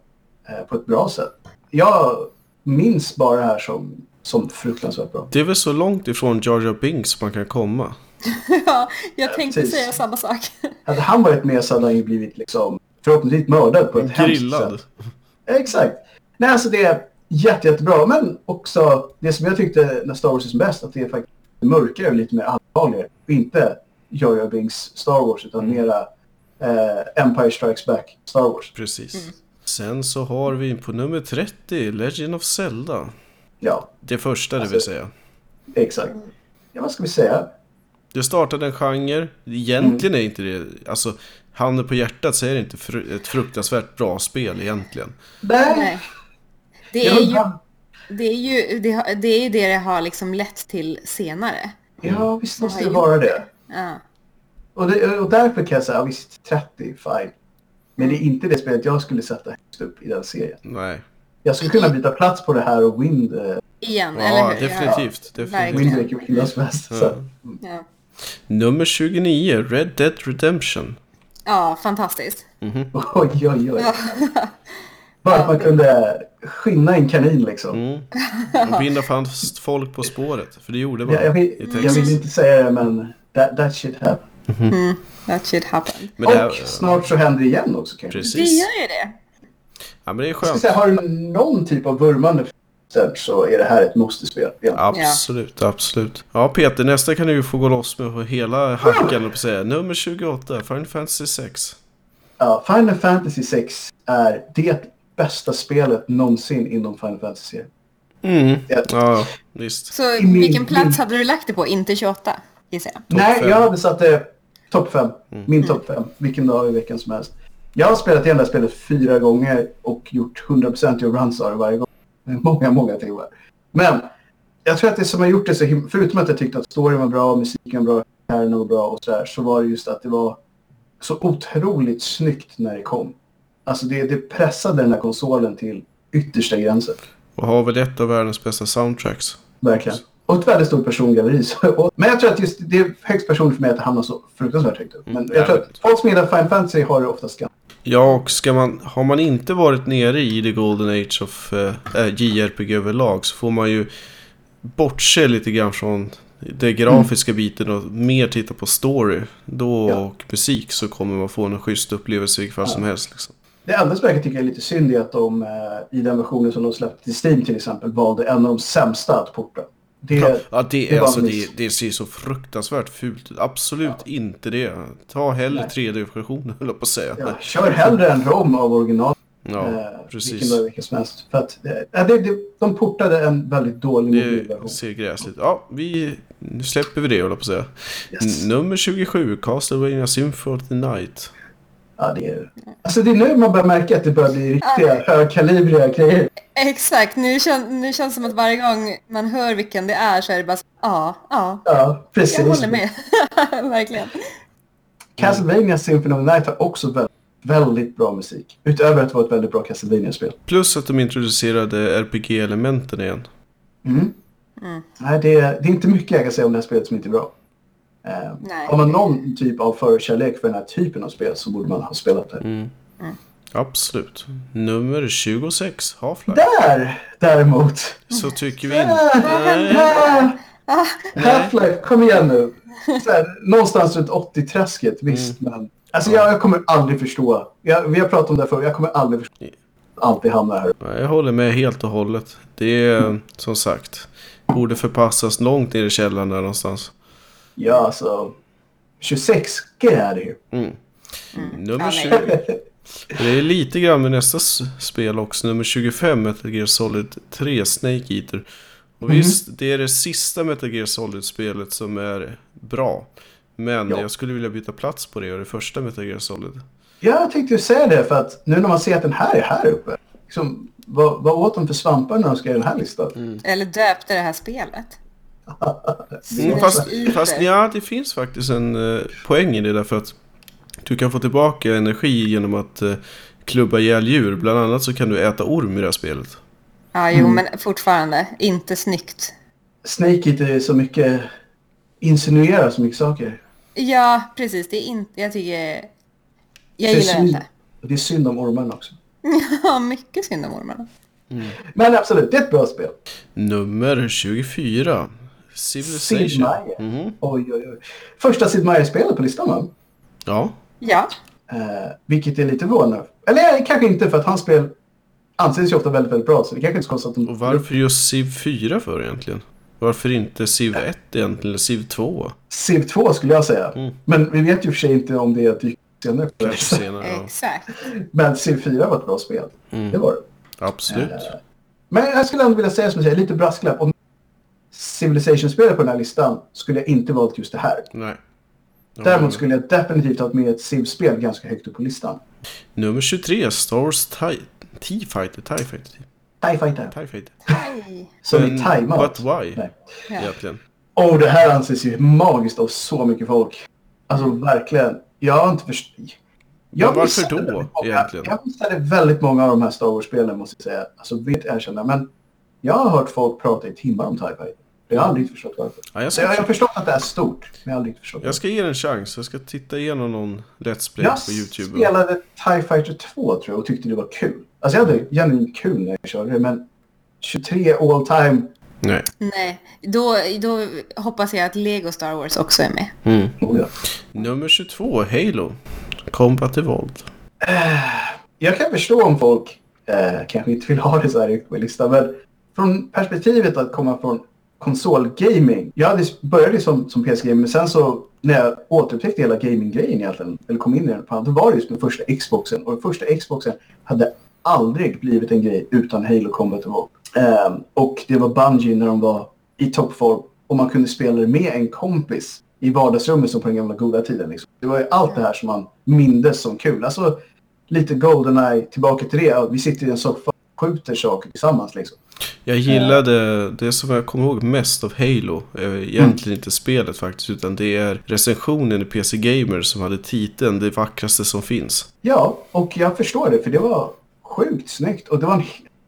[SPEAKER 3] eh, på ett bra sätt. Jag minns bara det här som, som fruktansvärt bra.
[SPEAKER 1] Det är väl så långt ifrån Jar Jar Binks man kan komma.
[SPEAKER 2] ja jag tänkte
[SPEAKER 3] precis.
[SPEAKER 2] säga samma sak.
[SPEAKER 3] Hade han varit med så hade han ju blivit liksom, förhoppningsvis mördad på ett hemskt sätt.
[SPEAKER 1] Grillad.
[SPEAKER 3] Exakt. Nej, alltså det är jätte, jättebra. Men också det som jag tyckte när Star Wars är som bäst, att det är faktiskt mörkare och lite mer allvarligare. Och inte Jar Bings Star Wars, utan
[SPEAKER 2] Mm.
[SPEAKER 3] mera eh, Empire Strikes Back Star Wars.
[SPEAKER 1] Precis.
[SPEAKER 2] Mm.
[SPEAKER 1] Sen så har vi på nummer 30, Legend of Zelda.
[SPEAKER 3] Ja,
[SPEAKER 1] Det första det vill
[SPEAKER 3] Alltså-
[SPEAKER 1] säga.
[SPEAKER 3] exakt. Ja, vad ska vi säga?
[SPEAKER 1] Det startade en genre.
[SPEAKER 3] Mm.
[SPEAKER 1] Egentligen är inte det... Alltså, handen på hjärtat så är det inte fru- ett fruktansvärt bra spel egentligen.
[SPEAKER 3] Nej.
[SPEAKER 2] Nej. Det
[SPEAKER 3] Jag
[SPEAKER 2] är ju
[SPEAKER 3] undrar-
[SPEAKER 2] det, är ju, det, har- det, är ju det det har liksom lett till senare.
[SPEAKER 3] Ja, visst måste det
[SPEAKER 2] Oj.
[SPEAKER 3] vara det.
[SPEAKER 2] Ja.
[SPEAKER 3] Och, det, och därför kan jag säga, ja, visst, 30, fine. Men det är inte det spelet jag skulle sätta högst upp i den serien.
[SPEAKER 1] Nej.
[SPEAKER 3] Jag skulle kunna byta plats på det här och Wind... Eh,
[SPEAKER 2] Igen, eller
[SPEAKER 1] Ja,
[SPEAKER 2] hur?
[SPEAKER 1] definitivt. definitivt.
[SPEAKER 2] Verkligen.
[SPEAKER 3] Wind Waker vilken dag som helst. Så.
[SPEAKER 1] Ja.
[SPEAKER 2] Ja, ja.
[SPEAKER 1] Nummer 29, Red Dead Redemption.
[SPEAKER 2] ja fantastiskt.
[SPEAKER 3] Oj, oj, oj. Bara att man kunde skinna en kanin liksom.
[SPEAKER 1] Mm. Och binda fast folk på spåret. För det gjorde man
[SPEAKER 3] Jag, jag,
[SPEAKER 1] i
[SPEAKER 3] vill, jag
[SPEAKER 1] Texas.
[SPEAKER 3] vill inte säga det, men that, that shit happen.
[SPEAKER 2] That shit happened.
[SPEAKER 1] Men det här,
[SPEAKER 3] Och snart så händer det igen också kanske.
[SPEAKER 2] Det
[SPEAKER 1] precis.
[SPEAKER 2] gör ju det.
[SPEAKER 1] Ja, men det är
[SPEAKER 3] Jag ska
[SPEAKER 1] skönt.
[SPEAKER 3] säga, har du någon typ av vurmande för så är det här ett måste-spel. Ja.
[SPEAKER 1] Absolut, absolut. Ja, Peter, nästa kan du ju få gå loss med på hela hackan och säga. Nummer 28, Final Fantasy 6.
[SPEAKER 3] Ja, Final Fantasy 6 är det bästa spelet någonsin inom Final Fantasy.
[SPEAKER 1] Mm.
[SPEAKER 3] Ja.
[SPEAKER 1] Ja, visst.
[SPEAKER 2] Så
[SPEAKER 3] min-
[SPEAKER 2] vilken
[SPEAKER 3] min-
[SPEAKER 2] plats hade du lagt det på? Inte 28, gissar jag.
[SPEAKER 3] Nej,
[SPEAKER 1] fem.
[SPEAKER 3] eh, jag hade satt det topp 5. Min topp 5. Vilken dag i veckan som helst. Jag har spelat igen det här spelet fyra gånger och gjort 100% i runs av det varje gång. Det är Många, många timmar. Men jag tror att det som har gjort det så himla... Förutom att jag tyckte att storyn var bra, musiken var bra, karaktären var bra och sådär. Så var det just att det var så otroligt snyggt när det kom. Alltså det, det pressade den här konsolen till yttersta gränsen.
[SPEAKER 1] Och har väl ett av världens bästa soundtracks.
[SPEAKER 3] Verkligen. Och ett väldigt stort persongalleri. <laughs> Så- och- Men jag tror att just det är högst personligt för mig att det hamnar så fruktansvärt högt upp.
[SPEAKER 1] Mm,
[SPEAKER 3] Men jag tror att folk som gillar Final Fantasy har det oftast ganska...
[SPEAKER 1] Ja, och ska man, har man inte varit nere i the golden age of eh, eh, JRPG överlag så får man ju bortse lite grann från
[SPEAKER 3] Mm.
[SPEAKER 1] den grafiska biten och mer titta på story. Då
[SPEAKER 3] Ja.
[SPEAKER 1] och musik så kommer man få en schysst upplevelse vilken fall som helst. Liksom.
[SPEAKER 3] Det enda som jag kan tycka är lite synd är att de eh, i den versionen som de släppte till Steam till exempel valde en av de sämsta att porta. Det,
[SPEAKER 1] Ja, det,
[SPEAKER 3] det
[SPEAKER 1] är,
[SPEAKER 3] var
[SPEAKER 1] alltså,
[SPEAKER 3] en
[SPEAKER 1] det,
[SPEAKER 3] miss.
[SPEAKER 1] det ser så fruktansvärt fult ut. Absolut inte det. Ta hellre
[SPEAKER 3] Nej.
[SPEAKER 1] 3D-versionen <laughs> höll jag på att säga.
[SPEAKER 3] ja, kör hellre en rom av original.
[SPEAKER 1] Ja,
[SPEAKER 3] eh,
[SPEAKER 1] precis.
[SPEAKER 3] Vilken dag vilken som helst. För att, eh, ja, det, det, de portade en väldigt dålig
[SPEAKER 1] Det
[SPEAKER 3] mobilversion.
[SPEAKER 1] ser gräsligt Ja, vi, nu släpper vi det håller jag på att säga.
[SPEAKER 3] Yes.
[SPEAKER 1] Nummer 27, Castlevania Symphony of the Night.
[SPEAKER 3] Ja, det, är, alltså det är nu man börjar märka att det börjar bli riktiga högkalibriga grejer.
[SPEAKER 2] Exakt, nu, kän, nu känns det som att varje gång man hör vilken det är så är det bara så, ja, ja,
[SPEAKER 3] Ja, precis.
[SPEAKER 2] jag håller med. <laughs> Verkligen.
[SPEAKER 3] Castlevania Symphony of the Night har också väldigt, väldigt bra musik. Utöver att vara ett väldigt bra Castlevania-spel.
[SPEAKER 1] Plus att de introducerade RPG-elementen igen.
[SPEAKER 3] Mm. Nej, det, är- det är inte mycket jag kan säga om det här spelet som inte är bra. Eh,
[SPEAKER 2] Nej.
[SPEAKER 3] har man någon typ av förkärlek för den här typen av spel så borde man ha spelat det.
[SPEAKER 1] Absolut. Nummer 26, Half-Life.
[SPEAKER 3] Där däremot!
[SPEAKER 1] Så tycker vi inte...
[SPEAKER 3] Äh, äh, Half-Life, kom igen nu! Så här, någonstans runt 80-träsket, visst men... Alltså jag, jag kommer aldrig förstå. Jag, vi har pratat om det här förut, jag kommer aldrig förstå. Alltid hamnar här.
[SPEAKER 1] Nej, Jag håller med helt och hållet. Det är som sagt, borde förpassas långt ner i källaren där någonstans.
[SPEAKER 3] Ja, alltså... 26, get out of here.
[SPEAKER 1] Nummer
[SPEAKER 2] Ja,
[SPEAKER 1] 20. Det är lite grann med nästa s- spel också. Nummer 25, Metal Gear Solid 3, Snake Eater. Och visst, det är det sista Metal Gear Solid-spelet som är bra. Men
[SPEAKER 3] Ja.
[SPEAKER 1] jag skulle vilja byta plats på det och det första Metal Gear Solid.
[SPEAKER 3] Jag tänkte ju säga det för att nu när man ser att den här är här uppe. Liksom, vad, vad åt de för svampar när de skrev den här listan?
[SPEAKER 2] Eller döpte det här spelet.
[SPEAKER 1] Mm, fast, fast
[SPEAKER 2] jag...
[SPEAKER 1] ja, det finns faktiskt en eh, poäng i det därför att du kan få tillbaka energi genom att eh, klubba ihjäl djur. Bland annat så kan du äta orm i det här spelet.
[SPEAKER 2] Ja, jo, men fortfarande inte snyggt.
[SPEAKER 3] Snake Eater är så mycket... Insinuerar så mycket saker.
[SPEAKER 2] Ja, precis. Det är inte, jag tycker, jag
[SPEAKER 3] det, är
[SPEAKER 2] gillar det <laughs>
[SPEAKER 3] synd,
[SPEAKER 2] inte.
[SPEAKER 3] det är synd om ormarna också.
[SPEAKER 2] Ja, mycket synd om ormarna.
[SPEAKER 3] Men absolut, det är ett bra spel.
[SPEAKER 1] Nummer 24. Civilization.
[SPEAKER 3] Sid Meier.
[SPEAKER 1] Mm-hmm.
[SPEAKER 3] Oj, oj, oj. Första Sid Meier-spelet på listan va?
[SPEAKER 1] Ja.
[SPEAKER 2] Ja,
[SPEAKER 3] Eh, vilket är lite förvånande. Eller eh, kanske inte för att hans spel anses ju ofta väldigt, väldigt bra. Så det kanske inte är så konstigt att de...
[SPEAKER 1] Och varför just Civ 4 för egentligen? Varför inte Civ 1 egentligen, eller Civ 2?
[SPEAKER 3] Civ 2 skulle jag säga. Men vi vet ju i och för sig inte om det dyker senare.
[SPEAKER 1] Mm. Kanske senare. Ja.
[SPEAKER 2] exakt.
[SPEAKER 3] Men Civ 4 var ett bra spel.
[SPEAKER 1] Mm.
[SPEAKER 3] Det var det.
[SPEAKER 1] Absolut.
[SPEAKER 3] Men jag skulle ändå vilja säga som jag säger, lite brasklapp. Om Civilization-spelet på den här listan skulle jag inte valt just det här.
[SPEAKER 1] Nej. Ja, men-
[SPEAKER 3] Däremot skulle jag definitivt ha med ett Civ-spel ganska högt upp på listan.
[SPEAKER 1] Nummer 23, Star Wars TIE T-Fighter. TIE Fighter.
[SPEAKER 3] TIE Fighter.
[SPEAKER 1] TIE Fighter.
[SPEAKER 2] Aj.
[SPEAKER 3] Som är
[SPEAKER 1] Men
[SPEAKER 3] time-out.
[SPEAKER 1] But why?
[SPEAKER 3] Nej.
[SPEAKER 2] Ja.
[SPEAKER 1] Egentligen.
[SPEAKER 3] Och det här anses ju magiskt av så mycket folk. Alltså verkligen. Jag har inte förstått.
[SPEAKER 1] Men varför då, egentligen?
[SPEAKER 3] Jag missade väldigt många av de här Star Wars-spelen måste jag säga. Alltså vitt erkänna. Men jag har hört folk prata i timmar om TIE Fighter. Jag har aldrig förstått varför.
[SPEAKER 1] Ja, jag,
[SPEAKER 3] Så jag jag har
[SPEAKER 1] ska,
[SPEAKER 3] förstått att det är stort, men jag har aldrig förstått.
[SPEAKER 1] jag ska ge den en chans. Jag ska titta igenom någon Let's Play
[SPEAKER 3] Jag
[SPEAKER 1] på YouTube.
[SPEAKER 3] spelade TIE Fighter 2 tror jag och tyckte det var kul. Alltså jag hade genuint kul när jag körde det, men 23 all time.
[SPEAKER 1] Nej.
[SPEAKER 2] Nej, då, då hoppas jag att Lego Star Wars också är med. <laughs>
[SPEAKER 3] Oh, ja.
[SPEAKER 1] Nummer 22, Halo. Combat Evolved.
[SPEAKER 3] Jag kan förstå om folk eh, kanske inte vill ha det så här högt på listan, men från perspektivet att komma från konsolgaming. Jag hade, började som, som PC-gamer, men sen så när jag återupptäckte hela gaming-grejen egentligen, eller kom in i den, fan, då var det just den första Xboxen. Och den första Xboxen hade aldrig blivit en grej utan Halo Combat Evolved. Eh, och det var Bungie när de var i toppform och man kunde spela det med en kompis i vardagsrummet som på den gamla goda tiden. Liksom. Det var ju allt det här som man mindes som kul. Alltså, lite Goldeneye tillbaka till det. Ja, Vi sitter i en soffa och skjuter saker tillsammans liksom.
[SPEAKER 1] Jag gillade det som jag kommer ihåg mest av Halo. eh, Egentligen inte spelet faktiskt utan det är recensionen i PC Gamer som hade titeln Det vackraste som finns.
[SPEAKER 3] Ja, och jag förstår det för det var sjukt snyggt. Och det var en...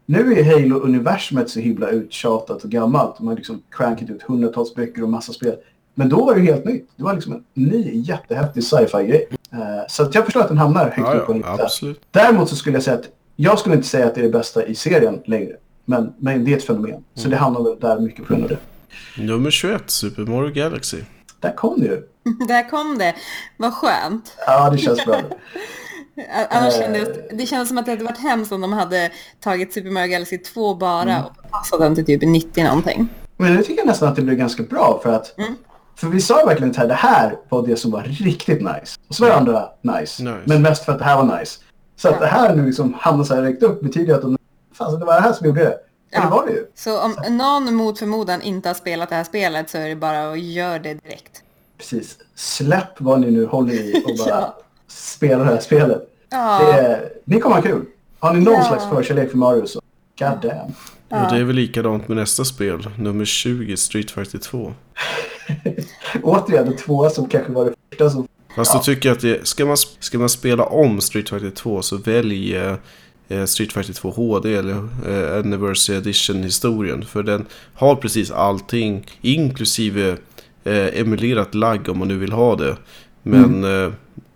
[SPEAKER 3] Nu är Halo-universumet så himla uttjatat och gammalt. De har liksom crankat ut hundratals böcker och massa spel. Men då var det ju helt nytt. Det var liksom en ny jättehäftig sci-fi-grej. Eh, Så att jag förstår att den hamnar högt upp på en lista.
[SPEAKER 1] absolut.
[SPEAKER 3] Däremot så skulle jag säga att jag skulle inte säga att det är det bästa i serien längre. Men, men det är ett fenomen. Så det hamnar väl där mycket på grund av det.
[SPEAKER 1] Nummer 21, Super Mario Galaxy.
[SPEAKER 3] Där kom det ju.
[SPEAKER 2] Där kom det. Vad skönt.
[SPEAKER 3] Ja, det känns bra.
[SPEAKER 2] A- Annars kändes, det kändes som att det hade varit hemskt om de hade tagit Super Mario Galaxy 2 bara och passat den till typ 90 någonting.
[SPEAKER 3] Men nu tycker jag nästan att det blev ganska bra för att
[SPEAKER 2] Mm.
[SPEAKER 3] För vi sa ju verkligen att det här- det här var det som var riktigt nice. Och så var det
[SPEAKER 2] Mm.
[SPEAKER 3] andra nice.
[SPEAKER 1] Nice.
[SPEAKER 3] Men mest för att det här var nice. Så att det här nu liksom hamnar så här högt upp betyder ju att de, fan, det var det här som gjorde det. Ja.
[SPEAKER 2] Ja.
[SPEAKER 3] det var det ju.
[SPEAKER 2] Så om någon mot förmodan inte har spelat det här spelet så är det bara att göra det direkt.
[SPEAKER 3] Precis. Släpp vad ni nu håller i och
[SPEAKER 2] <laughs>
[SPEAKER 3] bara
[SPEAKER 2] Ja.
[SPEAKER 3] spela det här spelet.
[SPEAKER 2] Ja.
[SPEAKER 3] Det är, ni kommer ha kul. Har ni någon
[SPEAKER 2] Ja.
[SPEAKER 3] slags förkärlek för Mario så god damn.
[SPEAKER 1] Och det är väl likadant med nästa spel, nummer 20, Street Fighter 2.
[SPEAKER 3] Återigen, det tvåa som kanske var det första som...
[SPEAKER 1] Fast då tycker jag att det, ska, man, ska man spela om Street Fighter 2 så välj eh, eh, Street Fighter 2 HD eller eh, Anniversary Edition historien. För den har precis allting inklusive eh, emulerat lagg om man nu vill ha det. Men eh,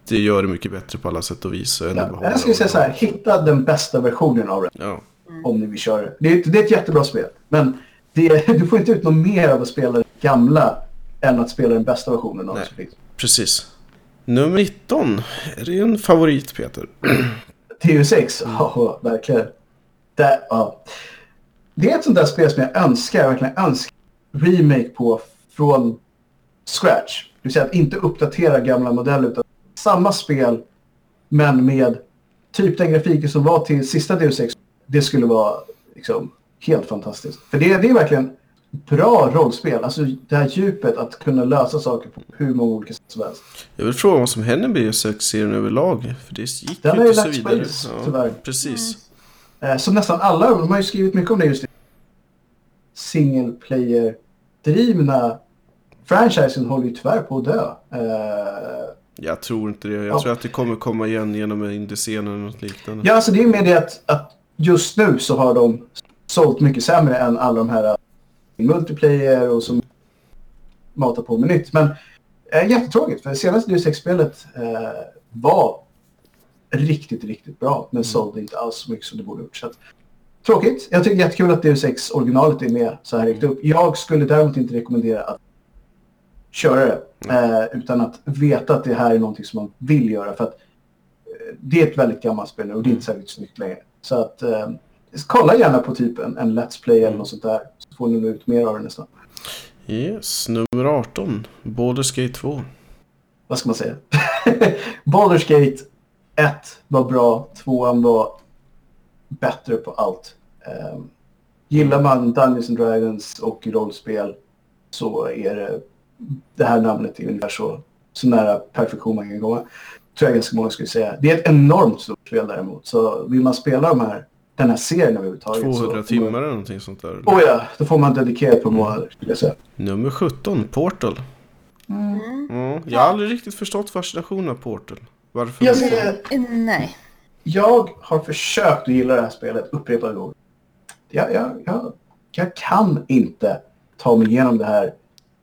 [SPEAKER 1] det gör det mycket bättre på alla sätt och vis. än att
[SPEAKER 3] Mm. Ja.
[SPEAKER 1] behålla
[SPEAKER 3] Jag skulle säga så här, hitta den bästa versionen av det.
[SPEAKER 1] Ja.
[SPEAKER 3] om ni vill köra det. Det är, det är ett jättebra spel. Men det, <laughs> du får inte ut något mer av att spela det gamla än att spela den bästa versionen av det som finns.
[SPEAKER 1] Precis. Nummer 19. Är det en favorit Peter?
[SPEAKER 3] TU6, ja verkligen. Det, ja. det är ett sånt där spel som jag önskar, verkligen önskar remake på från scratch. Det vill säga att inte uppdatera gamla modeller utan samma spel men med typ den grafiken som var till sista DU6. Det skulle vara liksom, helt fantastiskt. För det, det är verkligen bra rollspel. Alltså det här djupet att kunna lösa saker på hur många olika sätt som helst.
[SPEAKER 1] Jag vill fråga vad som händer med E6-serien överlag. För det gick
[SPEAKER 3] Den
[SPEAKER 1] ju
[SPEAKER 3] har ju
[SPEAKER 1] inte så
[SPEAKER 3] lagts på
[SPEAKER 1] vidare.
[SPEAKER 3] is, tyvärr.
[SPEAKER 1] precis.
[SPEAKER 3] Eh, som nästan alla, de har ju skrivit mycket om det just i single player-drivna franchisen håller ju tyvärr på att dö. Eh,
[SPEAKER 1] Jag tror inte det. Jag
[SPEAKER 3] Ja.
[SPEAKER 1] tror att det kommer komma igen genom indiescenen eller något liknande.
[SPEAKER 3] ja, alltså det är med det att, att just nu så har de sålt mycket sämre än alla de här eh, multiplayer och som matar på med nytt. Men eh, jättetråkigt, för det senaste Deus Ex-spelet eh, var riktigt, riktigt bra men sålde inte alls så mycket som det borde ha gjort. Så att, tråkigt. Jag tycker det är jättekul att Deus Ex originalet är med så här högt upp. Jag skulle däremot inte rekommendera att köra det eh, utan att veta att det här är någonting som man vill göra för att eh, det är ett väldigt gammalt spel nu och det är inte särskilt snyggt längre. Så att eh, kolla gärna på typ en, en Let's Play eller något sånt där så får ni nog ut mer av det nästan.
[SPEAKER 1] Yes, nummer 18. Baldur's Gate 2.
[SPEAKER 3] vad ska man säga? <laughs> Baldur's Gate 1 var bra, 2 var bättre på allt. Ehm, gillar man Dungeons and Dragons och rollspel så är det, det här namnet är ungefär så, så nära perfektion man kan komma. Tror jag ganska många skulle säga. Det är ett enormt stort spel däremot. Så vill man spela de här, den här serien överhuvudtaget
[SPEAKER 1] 200
[SPEAKER 3] så...
[SPEAKER 1] timmar eller någonting sånt där.
[SPEAKER 3] Åh ja, då får man dedikerat på månader skulle jag säga.
[SPEAKER 1] Nummer 17. Portal. Mm. Jag har aldrig riktigt förstått fascinationen av Portal. Varför?
[SPEAKER 3] Jag,
[SPEAKER 1] man får-
[SPEAKER 3] ser-
[SPEAKER 2] Eh, Nej.
[SPEAKER 3] Jag har försökt att gilla det här spelet upprepade gånger. Jag, jag, jag, jag kan inte ta mig igenom det här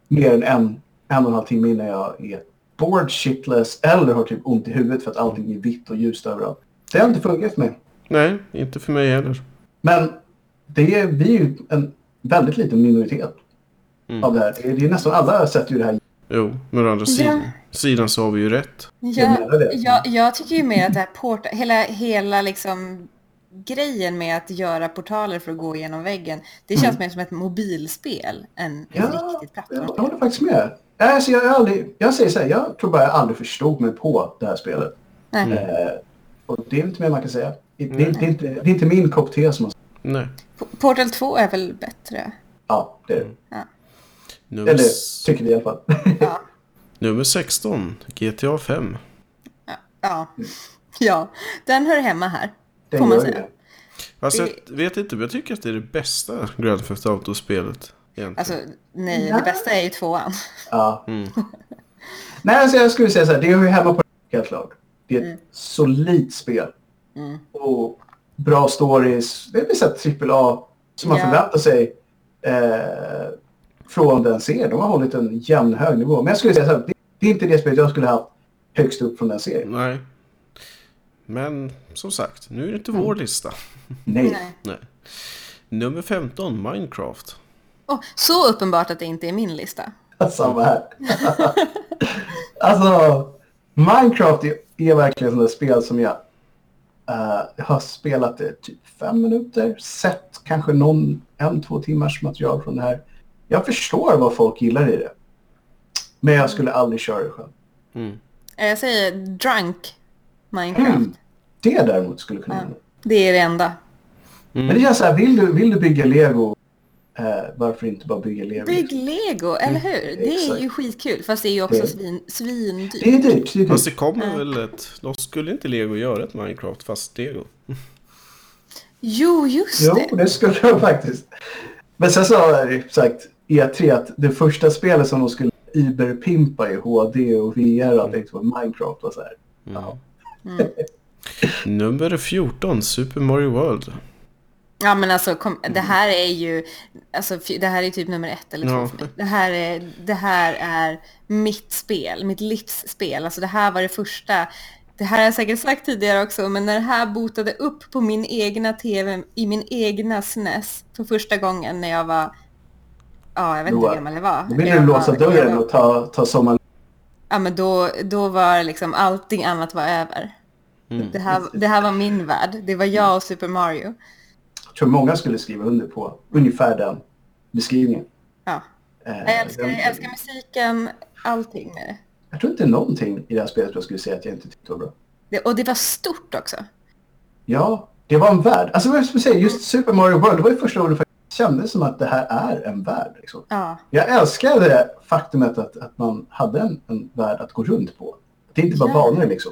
[SPEAKER 3] mer än en, en och en halv timme innan jag är bored shitless eller har typ ont i huvudet för att allting är vitt och ljust överallt. Det har inte funkat för mig.
[SPEAKER 1] Nej, inte för mig heller.
[SPEAKER 3] Men det är, vi är ju en väldigt liten minoritet
[SPEAKER 1] Mm.
[SPEAKER 3] av det här. Det är, det är nästan alla sätter ju det här
[SPEAKER 1] Jo, men å andra sidan,
[SPEAKER 2] Ja.
[SPEAKER 1] sidan så har vi ju rätt.
[SPEAKER 2] Jag,
[SPEAKER 3] menar det.
[SPEAKER 2] jag, jag tycker ju mer att det här port, hela, hela liksom grejen med att göra portaler för att gå igenom väggen, det känns
[SPEAKER 3] Mm.
[SPEAKER 2] mer som ett mobilspel än ett riktigt
[SPEAKER 3] jag,
[SPEAKER 2] plattformsspel.
[SPEAKER 3] jag håller faktiskt med. Alltså, jag, har aldrig, jag säger så här, jag tror bara jag aldrig förstod mig på det här spelet.
[SPEAKER 2] Nej.
[SPEAKER 3] Eh, och det är inte mer man kan säga. Det, det, är- det, är, inte, det är inte min kopp te som man
[SPEAKER 1] Nej.
[SPEAKER 2] P- Portal 2 är väl bättre?
[SPEAKER 3] Ja, det är det.
[SPEAKER 1] Nummer,
[SPEAKER 3] Eller
[SPEAKER 1] s-
[SPEAKER 3] tycker vi i alla fall.
[SPEAKER 2] Ja.
[SPEAKER 1] nummer 16. GTA 5.
[SPEAKER 2] ja. Ja, den hör hemma här.
[SPEAKER 3] Mm. Den
[SPEAKER 2] Får man
[SPEAKER 3] gör ju
[SPEAKER 2] säga.
[SPEAKER 3] det.
[SPEAKER 1] Fast Alltså, jag vet inte, men jag tycker att det är det bästa Grand Theft Auto-spelet. egentligen.
[SPEAKER 2] Alltså, nej,
[SPEAKER 3] Nej.
[SPEAKER 2] det bästa är ju tvåan.
[SPEAKER 3] Ja.
[SPEAKER 1] Mm.
[SPEAKER 3] Nej, alltså jag skulle säga så här. Det är ju hemma på helt klart. Det är ett solidt spel.
[SPEAKER 2] Mm.
[SPEAKER 3] Och bra stories. Det är väl så här AAA som man
[SPEAKER 2] Ja.
[SPEAKER 3] förväntar sig eh, från den serien. De har hållit en jämn hög nivå. Men jag skulle säga så här. Det, det är inte det spelet jag skulle ha haft högst upp från den serien.
[SPEAKER 1] Nej. Men som sagt, nu är det inte vår lista.
[SPEAKER 3] Nej.
[SPEAKER 2] <laughs> Nej.
[SPEAKER 1] Nej. Nummer 15, Minecraft.
[SPEAKER 2] Åh, så uppenbart att det inte är min lista.
[SPEAKER 3] Samma här. <laughs> alltså, Minecraft är, är verkligen sådana spel som jag eh, har spelat i typ fem minuter. Sett kanske någon, en, två timmars material från det här. Jag förstår vad folk gillar i det. Men jag skulle aldrig köra det själv.
[SPEAKER 1] Mm.
[SPEAKER 2] Eh, Jag säger drunk Minecraft.
[SPEAKER 3] Mm. Det däremot skulle kunna hända.
[SPEAKER 2] Det är det enda.
[SPEAKER 3] Men det känns så här, vill du, vill du bygga lego, eh, varför inte bara bygga lego?
[SPEAKER 2] Bygg lego, eller hur? Det är ju
[SPEAKER 3] Mm, Exakt.
[SPEAKER 2] skitkul, fast det är ju också
[SPEAKER 3] Det-
[SPEAKER 2] svin, svindyrt.
[SPEAKER 3] Det är dyrt. Det är
[SPEAKER 1] Fast det
[SPEAKER 3] dyrt.
[SPEAKER 1] kommer väl ett... De skulle inte Lego göra ett Minecraft fast Lego.
[SPEAKER 2] Jo, just
[SPEAKER 3] Jo,
[SPEAKER 2] det.
[SPEAKER 3] det skulle de <laughs> faktiskt. Men sen sa jag ju sagt E3 att det första spelet som de skulle überpimpa i HD och
[SPEAKER 2] Mm.
[SPEAKER 3] VR och det var Minecraft och så här. Ja.
[SPEAKER 1] Mm. Nummer 14, Super Mario World.
[SPEAKER 2] Ja, men alltså kom, det här är ju, alltså fy- det här är typ nummer ett eller två
[SPEAKER 1] Ja.
[SPEAKER 2] för mig. Det här, är, det här är mitt spel, mitt livsspel. Alltså det här var det första, det här har jag säkert sagt tidigare också, men när det här botade upp på min egna tv, i min egna SNES för första gången när jag var, ja jag vet inte hur
[SPEAKER 3] Då-
[SPEAKER 2] gammal jag var.
[SPEAKER 3] Då vill
[SPEAKER 2] Jag
[SPEAKER 3] du låsa
[SPEAKER 2] var- jag
[SPEAKER 3] dörren
[SPEAKER 2] var-
[SPEAKER 3] och ta, ta sommaren.
[SPEAKER 2] Ja, men då, då var liksom allting annat var över.
[SPEAKER 3] Mm,
[SPEAKER 2] Det, här, det här var min värld, det var jag och Super Mario.
[SPEAKER 3] Jag tror många skulle skriva under på ungefär den beskrivningen.
[SPEAKER 2] Ja.
[SPEAKER 3] Eh,
[SPEAKER 2] Jag älskar,
[SPEAKER 3] den-
[SPEAKER 2] jag älskar musiken, allting med det.
[SPEAKER 3] jag tror inte någonting i det här spelet jag skulle säga att jag inte tyckte var bra.
[SPEAKER 2] det. Och det var stort också.
[SPEAKER 3] Ja, det var en värld. Alltså vad jag skulle säga, just Super Mario World, det var ju första gången det faktiskt kändes som att det här är en värld. Liksom.
[SPEAKER 2] Ja,
[SPEAKER 3] Jag älskar det faktumet att, att man hade en, en värld att gå runt på. Det är inte bara
[SPEAKER 2] Ja.
[SPEAKER 3] banor liksom.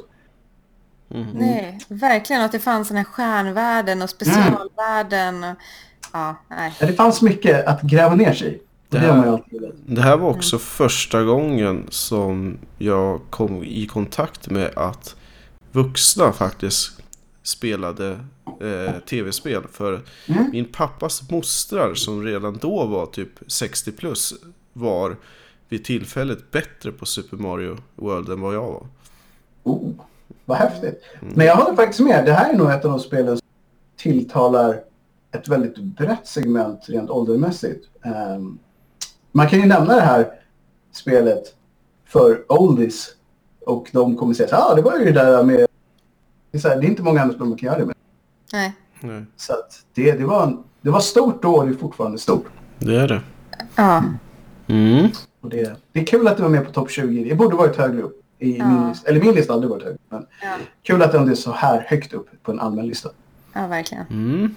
[SPEAKER 3] Mm.
[SPEAKER 2] nej, verkligen. Och att det fanns den här stjärnvärlden och specialvärlden. Och, ja, nej.
[SPEAKER 3] Ja, Det fanns mycket att gräva ner sig i. Det
[SPEAKER 1] här-
[SPEAKER 3] gör man ju alltid. velat.
[SPEAKER 1] Det här var också första gången som jag kom i kontakt med att vuxna faktiskt spelade eh, tv-spel. För min pappas mostrar som redan då var typ 60 plus var vid tillfället bättre på Super Mario World än vad jag var.
[SPEAKER 3] Oh, vad häftigt. Men jag håller faktiskt med. Det här är nog ett av de spelen som tilltalar ett väldigt brett segment rent åldermässigt. Ehm, man kan ju nämna det här spelet för oldies och de kommer säga så här, ah, det var ju det där med... Det är, så här, det är inte många andra spel man kan göra det med.
[SPEAKER 2] nej.
[SPEAKER 1] Nej.
[SPEAKER 3] Så att det, det, var en, det var stort då och det är fortfarande stort.
[SPEAKER 1] Det är det.
[SPEAKER 2] Ja,
[SPEAKER 1] Mm.
[SPEAKER 3] Och det, det är kul att du var med på topp 20. Det borde varit högre upp. I min lista. Eller min lista hade varit högre. Men
[SPEAKER 2] Ja.
[SPEAKER 3] Kul att den är så här högt upp på en allmän lista.
[SPEAKER 2] ja verkligen.
[SPEAKER 3] Mm.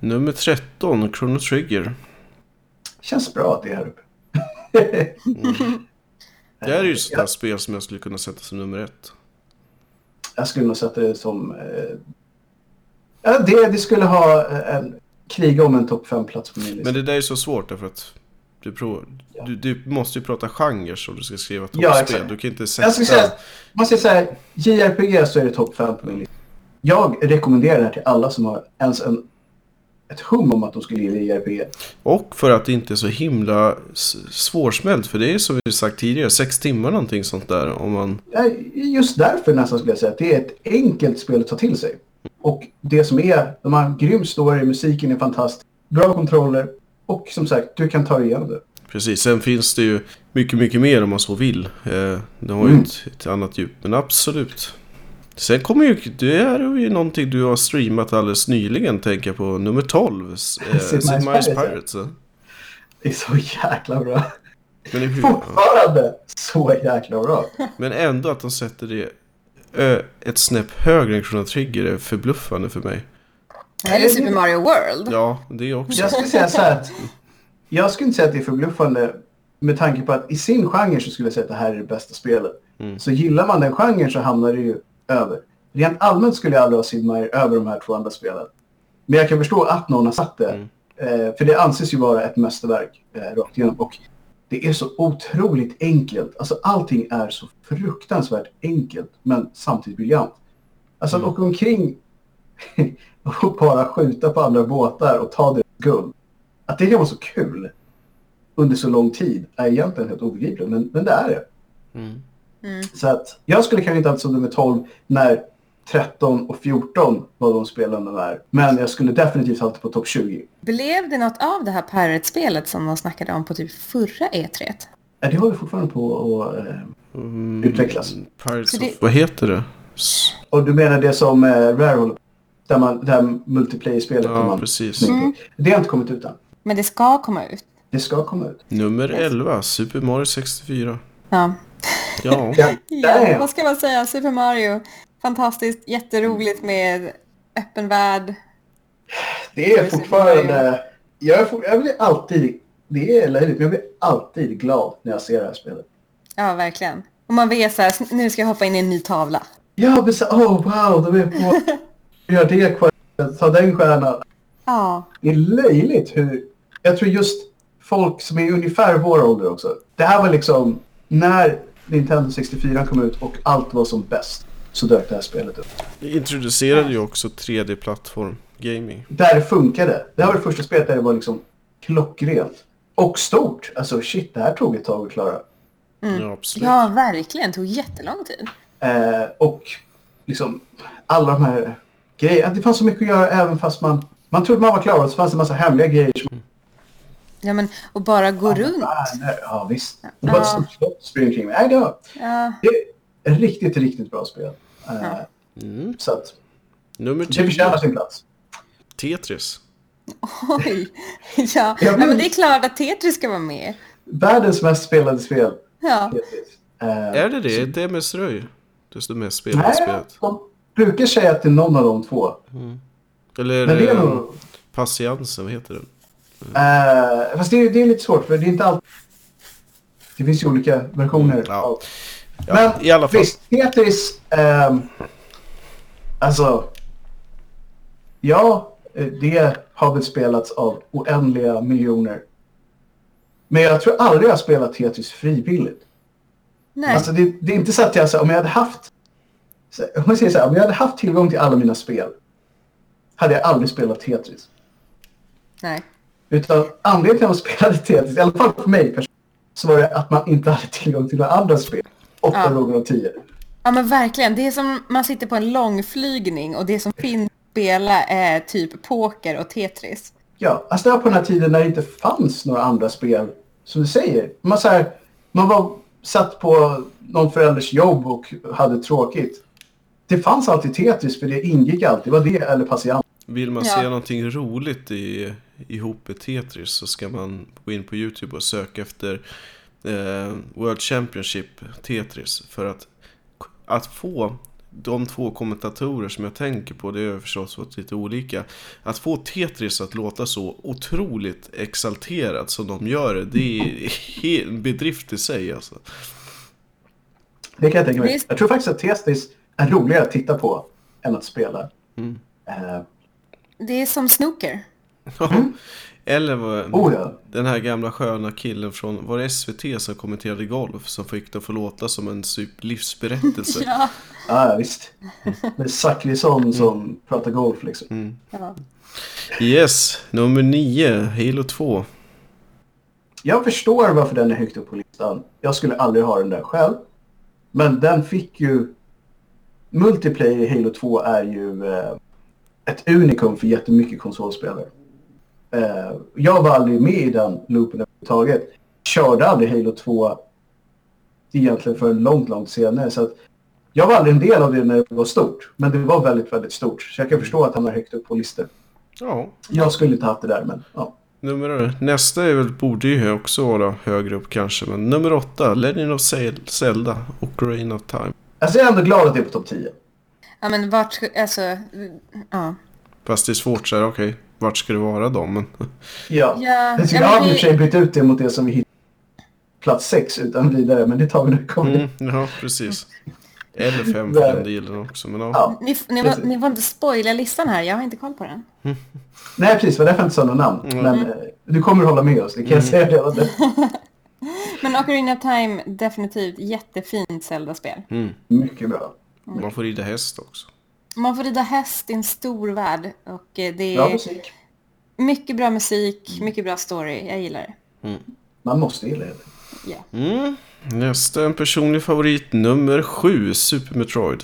[SPEAKER 1] Nummer 13, Chrono Trigger.
[SPEAKER 3] Känns bra att det är här uppe.
[SPEAKER 1] Det här är ju ett sånt här spel som jag skulle kunna sätta som nummer ett.
[SPEAKER 3] Jag skulle nog sätta det som... Eh, ja, det, det skulle ha eh, en kriga om en topp 5-plats på min lista.
[SPEAKER 1] Men det där är så svårt därför att du, prov, du, du måste ju prata genre om du ska skriva
[SPEAKER 3] Ja,
[SPEAKER 1] toppspel.
[SPEAKER 3] exakt.
[SPEAKER 1] du kan inte sätta...
[SPEAKER 3] jag skulle säga, man ska säga JRPG så är det topp 5 på min lista. Jag rekommenderar det här till alla som har ens en, ett hum om att de skulle gilla JRPG.
[SPEAKER 1] Och för att det inte är så himla s- svårsmält. För det är som vi sagt tidigare, sex timmar någonting sånt där. Om man...
[SPEAKER 3] Ja, Just därför nästan skulle jag säga att det är ett enkelt spel att ta till sig. Och det som är, de har en grym story, musiken är fantastisk, bra kontroller och som sagt, du kan ta dig igenom det.
[SPEAKER 1] Precis, sen finns det ju mycket, mycket mer om man så vill. Eh, det har
[SPEAKER 3] Mm.
[SPEAKER 1] ju ett, ett annat djup, men absolut. Sen kommer ju, det här är ju någonting du har streamat alldeles nyligen, tänker jag på, nummer 12. Eh,
[SPEAKER 3] <laughs> Sid
[SPEAKER 1] Sid Meier's
[SPEAKER 3] Meier's Pirates, ja.
[SPEAKER 1] Pirates. ja.
[SPEAKER 3] Det är så jäkla bra.
[SPEAKER 1] Men, i huvud- ja.
[SPEAKER 3] Fortfarande så jäkla bra.
[SPEAKER 1] men ändå att de sätter det ö, ett snäpp högre än Chrono Trigger är förbluffande för mig.
[SPEAKER 2] Eller Super Mario World.
[SPEAKER 1] Ja, det också.
[SPEAKER 3] Jag skulle säga så här att jag skulle inte säga att det är förbluffande med tanke på att i
[SPEAKER 1] Mm.
[SPEAKER 3] sin genre så skulle jag säga att det här är det bästa spelet. Så gillar man den genren så hamnar det ju över. rent allmänt skulle jag aldrig ha simmat över de här två andra spelen. Men jag kan förstå att någon har satt det.
[SPEAKER 1] Mm.
[SPEAKER 3] Eh, för det anses ju vara ett mästerverk eh, rakt igenom. Och det är så otroligt enkelt. Alltså allting är så fruktansvärt enkelt men samtidigt briljant. Alltså att
[SPEAKER 1] Mm.
[SPEAKER 3] åka omkring och bara skjuta på andra båtar och ta deras guld. Att det kan vara så kul under så lång tid är egentligen helt obegripligt, men, men det är det.
[SPEAKER 1] Mm.
[SPEAKER 3] Så att jag skulle kanske inte haft som nummer 12 när 13 och 14 var de spelen de är. Men jag skulle definitivt haft det på topp 20.
[SPEAKER 2] Blev det något av det här Pirate-spelet som de snackade om på typ förra E3?
[SPEAKER 3] Ja, Det håller fortfarande på att eh,
[SPEAKER 1] Mm.
[SPEAKER 3] utvecklas.
[SPEAKER 1] Pirates
[SPEAKER 2] Så
[SPEAKER 1] of...
[SPEAKER 2] det-
[SPEAKER 1] Vad heter det? S-
[SPEAKER 3] Och du menar det som eh, Rare håller på där man, det här multiplayer-spelet. där
[SPEAKER 1] Ja,
[SPEAKER 3] man,
[SPEAKER 1] precis.
[SPEAKER 2] Mm.
[SPEAKER 3] Det har inte kommit ut än.
[SPEAKER 2] Men det ska komma ut.
[SPEAKER 3] Det ska komma ut.
[SPEAKER 1] Nummer 11, Super Mario 64.
[SPEAKER 2] Ja.
[SPEAKER 1] Ja.
[SPEAKER 3] <laughs> Ja, där
[SPEAKER 2] ja,
[SPEAKER 3] är
[SPEAKER 2] vad
[SPEAKER 3] jag.
[SPEAKER 2] ska man säga? Super Mario. Fantastiskt, jätteroligt med öppen värld.
[SPEAKER 3] Det är fortfarande... Jag, är for, jag blir alltid... Det är löjligt, men jag blir alltid glad när jag ser det här spelet.
[SPEAKER 2] Ja, verkligen. Och man vet så här, "S- nu ska jag hoppa in i en ny tavla.
[SPEAKER 3] Ja, men så, oh wow, de är på... Gör det questet, ta den stjärnan.
[SPEAKER 2] Ja,
[SPEAKER 3] Det är löjligt hur... Jag tror just folk som är ungefär vår ålder också. Det här var liksom när Nintendo 64 kom ut och allt var som bäst så dök det här spelet upp.
[SPEAKER 1] Det introducerade ju också 3D-plattform gaming.
[SPEAKER 3] Där det funkade. Det här var det första spelet där det var liksom klockrent. Och stort. Alltså shit, det här tog ett tag att klara.
[SPEAKER 1] Ja, absolut.
[SPEAKER 2] Mm. ja verkligen. Det tog jättelång tid.
[SPEAKER 3] Eh, och liksom alla de här grejerna. Det fanns så mycket att göra även fast man... Man trodde man var klar och så fanns det en massa hemliga grejer som
[SPEAKER 2] Ja, men och bara gå runt.
[SPEAKER 3] Värner, ja visst. Det var ett stort slott springer kring. Nej, det var
[SPEAKER 2] Ja, <laughs>
[SPEAKER 3] det är ett riktigt, riktigt bra spel. Eh,
[SPEAKER 1] Mm.
[SPEAKER 3] Så att
[SPEAKER 1] Nummer
[SPEAKER 3] det
[SPEAKER 1] 10,
[SPEAKER 3] förtjänar sin plats.
[SPEAKER 1] Tetris.
[SPEAKER 2] oj. Ja,
[SPEAKER 3] Ja,
[SPEAKER 2] ja
[SPEAKER 3] men-
[SPEAKER 2] men det är klart att Tetris ska vara med.
[SPEAKER 3] Världens mest spelade spel.
[SPEAKER 2] Ja,
[SPEAKER 3] hittills. Eh,
[SPEAKER 1] Är det det? Är det MS Röj? Det är det mest spelade
[SPEAKER 3] Nej,
[SPEAKER 1] spelet.
[SPEAKER 3] de Eh, brukar säga att det är någon av de två.
[SPEAKER 1] Eller
[SPEAKER 3] Men det är
[SPEAKER 1] eh,
[SPEAKER 3] nog...
[SPEAKER 1] Patiensen, vad heter den?
[SPEAKER 3] eh, fast det är, det är lite svårt för det är inte allt. Det finns ju olika versioner.
[SPEAKER 1] Ja.
[SPEAKER 3] av-
[SPEAKER 1] Ja,
[SPEAKER 3] Men
[SPEAKER 1] i alla fall.
[SPEAKER 3] visst, Tetris... ehm, alltså... Ja, eh, det har väl spelats av oändliga miljoner. Men jag tror aldrig jag har spelat Tetris frivilligt.
[SPEAKER 2] nej.
[SPEAKER 3] Alltså det, det är inte så att jag, så här, om jag hade haft... så här, Om jag säger så här, om jag hade haft tillgång till alla mina spel hade jag aldrig spelat Tetris.
[SPEAKER 2] nej.
[SPEAKER 3] Utan anledningen till att man spelade Tetris, i alla fall för mig personligen, så var det att man inte hade tillgång till några andra spel. Åtta
[SPEAKER 2] Ja.
[SPEAKER 3] gånger av tio.
[SPEAKER 2] Ja men verkligen, det är som man sitter på en långflygning och det som finns att spela är typ poker och Tetris.
[SPEAKER 3] Ja, alltså det var på den här tiden när det inte fanns några andra spel. Som du säger, man, så här, man var satt på någon förälders jobb och hade tråkigt. Det fanns alltid Tetris för det ingick alltid. Det var det eller Patiens.
[SPEAKER 1] Vill man
[SPEAKER 2] Ja.
[SPEAKER 1] se någonting roligt i, ihop med Tetris så ska man gå in på YouTube och söka efter eh, World Championship Tetris. För att, att få de två kommentatorer som jag tänker på, det har förstås varit lite olika. Att få Tetris att låta så otroligt exalterat som de gör det, det är en bedrift i sig alltså.
[SPEAKER 3] Det kan jag tänka mig.
[SPEAKER 2] Visst.
[SPEAKER 3] Jag tror faktiskt att Tetris är roligare att titta på än att spela. Eh,
[SPEAKER 2] Det är som snooker.
[SPEAKER 1] Eller vad...
[SPEAKER 3] oh ja.
[SPEAKER 1] Den här gamla sköna killen från, var det SVT som kommenterade golf som fick det att få låta som en typ livsberättelse?
[SPEAKER 2] Ja.
[SPEAKER 3] Ja, ja, visst. Det är Zachrisson som pratar golf liksom.
[SPEAKER 2] ja.
[SPEAKER 1] Yes, nummer 9, Halo 2.
[SPEAKER 3] Jag förstår varför den är högt upp på listan. Jag skulle aldrig ha den där själv. Men den fick ju... Multiplayer i Halo 2 är ju eh, ett unikum för jättemycket konsolspelare. Eh, jag var aldrig med i den loopen överhuvudtaget. Körde aldrig Halo 2 egentligen förrän långt, långt senare. Så att jag var aldrig en del av det när det var stort. Men det var väldigt, väldigt stort. Så jag kan förstå att han var högt upp på listan.
[SPEAKER 1] Ja.
[SPEAKER 3] Jag skulle inte haft det där, men ja.
[SPEAKER 1] Nummer, nästa är väl, borde ju också vara högre upp kanske, men nummer 8, Legend of Zel- Zelda, Ocarina of Time.
[SPEAKER 3] Alltså jag är ändå glad att det är på topp 10.
[SPEAKER 2] ja men vart, sk- alltså, ja.
[SPEAKER 1] Fast det är svårt så här, okej, vart ska det vara då? Men,
[SPEAKER 3] Ja.
[SPEAKER 2] Ja,
[SPEAKER 3] Jag skulle
[SPEAKER 2] ja, men
[SPEAKER 3] aldrig i och
[SPEAKER 2] vi-
[SPEAKER 3] för sig bytt ut det mot
[SPEAKER 1] <laughs>
[SPEAKER 3] det Mm.
[SPEAKER 1] Mm.
[SPEAKER 3] som vi hittade plats 6 utan vidare, men det tar vi när vi kommer dit.
[SPEAKER 1] ja, precis. Eller fem för den delen också. Men ja.
[SPEAKER 3] Ja.
[SPEAKER 2] Ni, f- ni, var, ni får inte spoila listan här, jag har inte koll på den.
[SPEAKER 3] Nej, precis. Det var därför jag inte sa något namn.
[SPEAKER 1] Mm.
[SPEAKER 3] Men eh, du kommer hålla med oss, det kan jag säga redan
[SPEAKER 2] <laughs>
[SPEAKER 3] nu.
[SPEAKER 2] Men Ocarina of Time, definitivt jättefint Zelda-spel.
[SPEAKER 1] Mm.
[SPEAKER 3] Mycket bra.
[SPEAKER 1] Man får rida häst också.
[SPEAKER 2] Man får rida häst i en stor värld och eh, det
[SPEAKER 3] Bra
[SPEAKER 2] är
[SPEAKER 3] musik.
[SPEAKER 2] mycket bra
[SPEAKER 3] Mm.
[SPEAKER 2] musik, mycket bra story. Jag gillar det.
[SPEAKER 3] Man måste gilla det.
[SPEAKER 2] Ja.
[SPEAKER 1] Mm. Nästa en personlig favorit, nummer sju, Super Metroid.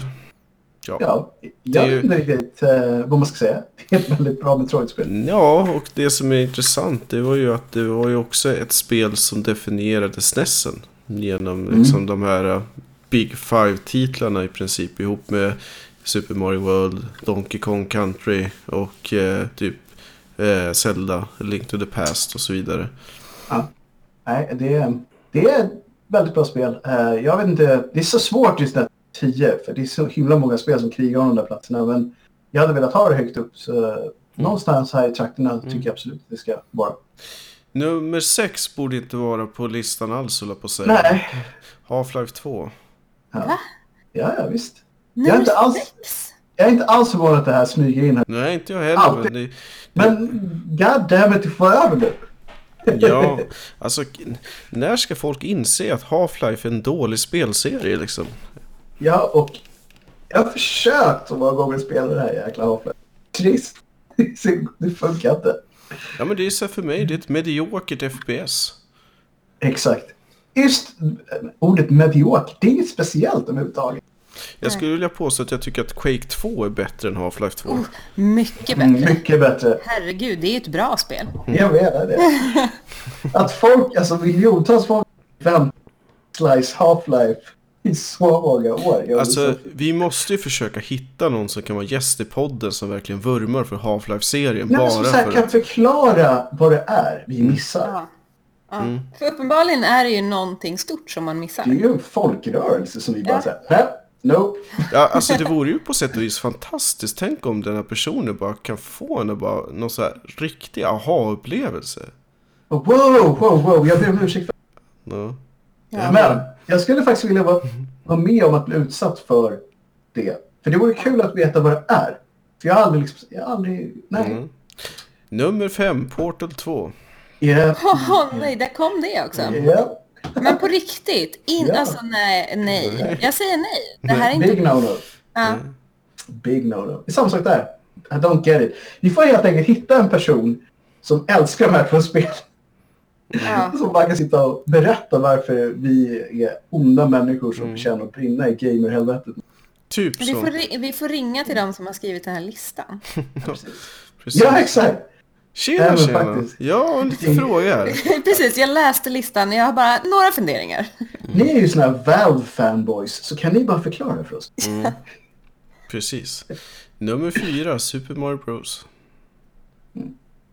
[SPEAKER 1] Ja. ja.
[SPEAKER 3] Ja, jag
[SPEAKER 1] är ju-
[SPEAKER 3] vet inte riktigt eh, vad man ska säga. Det är ett väldigt bra Metroid-spel.
[SPEAKER 1] och det som är intressant det var ju att det var ju också ett spel som definierade SNESen. Genom liksom de här eh, Big Five-titlarna i princip ihop med Super Mario World, Donkey Kong Country och eh, typ eh, Zelda, A Link to the Past och så vidare.
[SPEAKER 3] Nej, det, är- det är ett väldigt bra spel. Eh, jag vet inte, det är så svårt just det 10 för det är så himla många spel som krigar om de där platserna. Men jag hade velat ha det högt upp så någonstans här i trakterna tycker jag absolut det ska vara.
[SPEAKER 1] Nummer sex borde inte vara på listan alls höll jag på att säga.
[SPEAKER 3] Nej,
[SPEAKER 1] Half-Life 2.
[SPEAKER 3] ja, ja, ja visst. Jag är
[SPEAKER 2] Nummer
[SPEAKER 3] inte alls-
[SPEAKER 2] sex!
[SPEAKER 3] Jag är inte alls förvånad att det här smyger in här.
[SPEAKER 1] Nej, inte jag heller. Men
[SPEAKER 3] Alltid.
[SPEAKER 1] det,
[SPEAKER 3] Men god damn it, du får över nu. <laughs>
[SPEAKER 1] ja, alltså k- när ska folk inse att Half-Life är en dålig spelserie liksom?
[SPEAKER 3] Ja, och jag har försökt så många gånger spela det här jäkla hoppet. Trist. <laughs> Det funkar inte.
[SPEAKER 1] Ja, men det är så här för mig, det är ett
[SPEAKER 3] Mm.
[SPEAKER 1] mediokert FPS.
[SPEAKER 3] Exakt. Just eh, ordet medioker, det är inget speciellt överhuvudtaget.
[SPEAKER 1] Jag skulle vilja påstå att jag tycker att Quake 2 är bättre än Half-Life 2.
[SPEAKER 3] Mm.
[SPEAKER 2] Oh, mycket
[SPEAKER 1] Mm.
[SPEAKER 2] bättre.
[SPEAKER 3] Mycket bättre.
[SPEAKER 2] Herregud, det är ett bra spel.
[SPEAKER 3] Jag menar det.
[SPEAKER 1] <laughs>
[SPEAKER 3] Att folk, alltså miljontals folk väntar Slice Half-Life i så många år. Jag liksom-
[SPEAKER 1] Alltså, vi måste ju försöka hitta någon som kan vara gäst i podden som verkligen vurmar för Half-Life-serien.
[SPEAKER 3] Nej, men
[SPEAKER 1] bara
[SPEAKER 3] som så här,
[SPEAKER 1] för
[SPEAKER 3] kan
[SPEAKER 1] att... Mm.
[SPEAKER 3] förklara vad det är vi missar.
[SPEAKER 2] Ja. Ja. För uppenbarligen är det ju någonting stort som man missar.
[SPEAKER 3] Det är ju en folkrörelse som vi bara säger, nej, nope. <laughs>
[SPEAKER 1] Ja, alltså det vore ju på sätt och vis fantastiskt. Tänk om den här personen bara kan få en bara, någon så här riktig aha-upplevelse.
[SPEAKER 3] Wow, wow, wow, jag ber om ursäkt för
[SPEAKER 1] Ja.
[SPEAKER 2] Ja.
[SPEAKER 3] Men jag skulle faktiskt vilja vara, vara med om att bli utsatt för det. För det vore kul att veta vad det är. För jag har aldrig liksom, jag har aldrig, nej.
[SPEAKER 1] Mm. Nummer fem, Portal 2.
[SPEAKER 3] Yeah.
[SPEAKER 2] Åh, nej, där kom det också.
[SPEAKER 3] Yeah.
[SPEAKER 2] Men på riktigt, in,
[SPEAKER 3] Mm. Ja.
[SPEAKER 2] alltså nej, nej. Jag säger nej. Det här är inte...
[SPEAKER 3] Big no-no.
[SPEAKER 2] Ja.
[SPEAKER 3] Big no-no. Det är samma sak där. I don't get it. Vi får helt enkelt hitta en person som älskar de här två spelen. <laughs>
[SPEAKER 2] Ja.
[SPEAKER 3] Som bara kan sitta och berätta varför vi är onda människor som känner att brinna i gamerhelvetet.
[SPEAKER 1] Typ
[SPEAKER 2] Vi, får
[SPEAKER 1] så.
[SPEAKER 2] ri- vi får ringa till dem som har skrivit den här listan. <laughs>
[SPEAKER 1] Precis.
[SPEAKER 3] Ja, exakt. Ja,
[SPEAKER 1] Tjena,
[SPEAKER 3] men
[SPEAKER 1] tjena.
[SPEAKER 3] faktiskt.
[SPEAKER 1] Jag har en liten fråga här.
[SPEAKER 2] Precis, jag läste listan. Jag har bara några funderingar.
[SPEAKER 3] Ni är ju såna här Valve-fanboys, så kan ni bara förklara det för oss?
[SPEAKER 1] Precis. Nummer fyra, Super Mario Bros.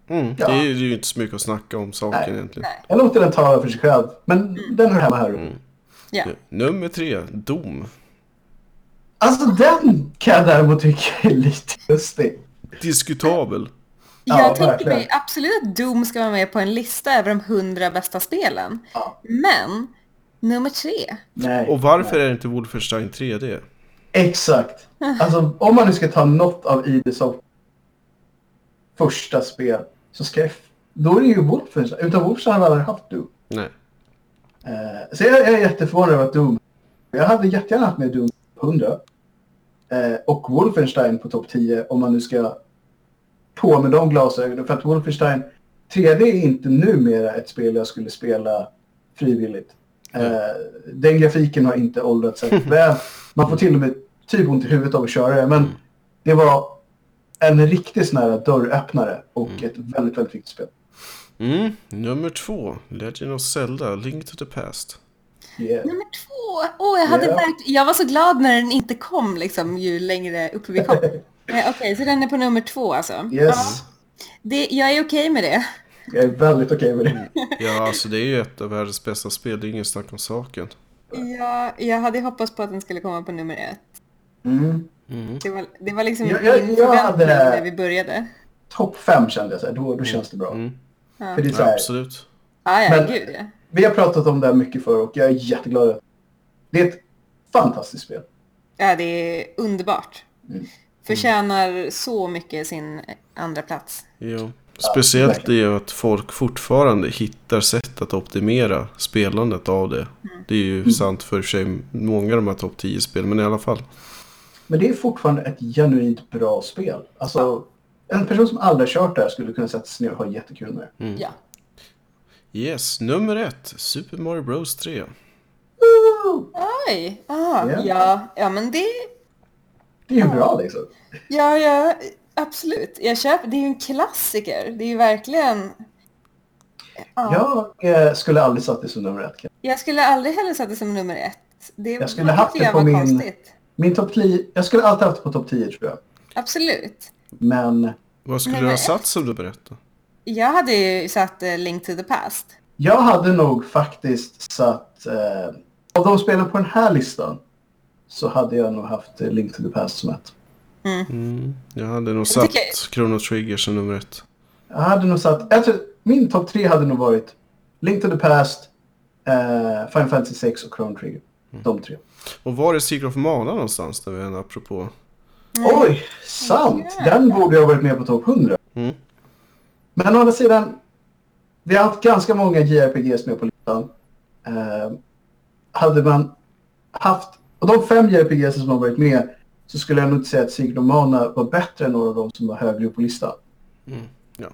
[SPEAKER 1] Mm, det, är, ju- det är ju inte så mycket att snacka om saken
[SPEAKER 3] Nej.
[SPEAKER 1] egentligen.
[SPEAKER 3] Jag låter den tala för sig själv, men den hör hemma här.
[SPEAKER 2] Ja.
[SPEAKER 1] Nummer tre, Doom.
[SPEAKER 3] Alltså den kan jag däremot tycka är lite lustig.
[SPEAKER 1] Diskutabel.
[SPEAKER 3] Ja,
[SPEAKER 2] Jag tänker
[SPEAKER 3] verkligen.
[SPEAKER 2] mig absolut att Doom ska vara med på en lista över de hundra bästa spelen.
[SPEAKER 3] Ja.
[SPEAKER 2] Men nummer tre.
[SPEAKER 3] Nej.
[SPEAKER 1] Och varför är det inte Wolfenstein 3D?
[SPEAKER 3] Exakt. Alltså om man nu ska ta något av ID som första spel så ska jag... Då är det ju Wolfenstein. Utan Wolfenstein hade jag aldrig haft Doom.
[SPEAKER 1] Nej.
[SPEAKER 3] Eh, så jag, jag är jätteförvånad över att Doom... Jag hade jättegärna haft med Doom 100. Eh, och Wolfenstein på topp 10 om man nu ska på med de glasögonen. För att Wolfenstein 3D är inte numera ett spel jag skulle spela frivilligt. Eh, den grafiken har inte åldrats särskilt väl. Man får till och med typ ont i huvudet av att köra det. Men det var en riktig sån här dörröppnare och ett väldigt, väldigt viktigt spel.
[SPEAKER 1] Mm. Nummer två, Legend of Zelda, Link to the Past.
[SPEAKER 3] Yeah.
[SPEAKER 2] Nummer två. Åh, jag, hade
[SPEAKER 3] Ja.
[SPEAKER 2] verkligen- jag var så glad när den inte kom liksom, ju längre upp
[SPEAKER 3] <laughs>
[SPEAKER 2] vi kom. Eh, Okej, så den är på nummer två alltså.
[SPEAKER 3] Yes,
[SPEAKER 2] Det, jag är okej med det.
[SPEAKER 3] jag är väldigt okej med det.
[SPEAKER 1] Ja, alltså det är ju ett av världens bästa spel, det är ingen snack om saken.
[SPEAKER 2] Jag, jag hade hoppats på att den skulle komma på nummer ett.
[SPEAKER 3] Mm.
[SPEAKER 2] Det var, det var liksom
[SPEAKER 3] Jag- jag-
[SPEAKER 2] min
[SPEAKER 3] jag
[SPEAKER 2] förväntning
[SPEAKER 3] hade-
[SPEAKER 2] när vi började.
[SPEAKER 3] topp fem kände jag så här, då, då känns det bra. För det är så
[SPEAKER 1] Mm. Ja,
[SPEAKER 3] här,
[SPEAKER 1] absolut.
[SPEAKER 2] Ah, ja,
[SPEAKER 3] Men-
[SPEAKER 2] gud ja.
[SPEAKER 3] vi har pratat om det här mycket förr och jag är jätteglad. att- Det är ett fantastiskt spel.
[SPEAKER 2] Ja, det är underbart.
[SPEAKER 3] Mm.
[SPEAKER 2] Förtjänar så mycket sin andra plats.
[SPEAKER 1] Jo. Speciellt det är ju att folk fortfarande hittar sätt att optimera spelandet av det. Det är ju sant för sig många av de här topp 10-spelen, men i alla fall.
[SPEAKER 3] Men det är fortfarande ett genuint bra spel. Alltså, en person som aldrig kört det här skulle kunna sätta sig ner och ha jättekul med
[SPEAKER 1] Mm.
[SPEAKER 3] det.
[SPEAKER 2] Ja.
[SPEAKER 1] Yes, nummer ett. Super Mario Bros 3.
[SPEAKER 3] Woo!
[SPEAKER 2] Oj! Ah,
[SPEAKER 3] Ja.
[SPEAKER 2] ja, ja, men det...
[SPEAKER 3] Det är ju bra liksom.
[SPEAKER 2] Ja, ja, absolut. Jag köper. Det är ju en klassiker. Det är ju verkligen... Ja.
[SPEAKER 3] Jag eh, skulle aldrig satt det som nummer ett.
[SPEAKER 2] Jag skulle aldrig heller satt det som nummer ett. Det
[SPEAKER 3] Jag skulle haft
[SPEAKER 2] tycker jag
[SPEAKER 3] det på
[SPEAKER 2] var
[SPEAKER 3] min-
[SPEAKER 2] konstigt.
[SPEAKER 3] Min topp 10, jag skulle alltid haft det på topp 10 tror jag.
[SPEAKER 2] Absolut.
[SPEAKER 3] Men
[SPEAKER 1] Vad skulle
[SPEAKER 2] Nej,
[SPEAKER 1] du ha
[SPEAKER 2] men-
[SPEAKER 1] satt som du berättade?
[SPEAKER 2] Jag hade ju satt eh, Link to the Past.
[SPEAKER 3] jag hade nog faktiskt satt, eh, av de spelen på den här listan så hade jag nog haft eh, Link to the Past som ett.
[SPEAKER 1] Mm, jag hade nog
[SPEAKER 2] tycker-
[SPEAKER 1] satt Chrono Trigger som nummer ett.
[SPEAKER 3] Jag hade nog satt, jag tror, min topp 3 hade nog varit Link to the Past, eh, Final Fantasy 6 och Chrono Trigger. De tre.
[SPEAKER 1] Och var är Secret of Mana någonstans? När vi är apropå.
[SPEAKER 3] Oj, sant! Den borde jag ha varit med på topp 100.
[SPEAKER 1] Mm.
[SPEAKER 3] Men å andra sidan, vi har haft ganska många JRPGs med på listan. Eh, hade man haft, och de fem JRPGs som har varit med, så skulle jag nog inte säga att Secret of Mana var bättre än några av de som var högre upp på listan.
[SPEAKER 1] Ja,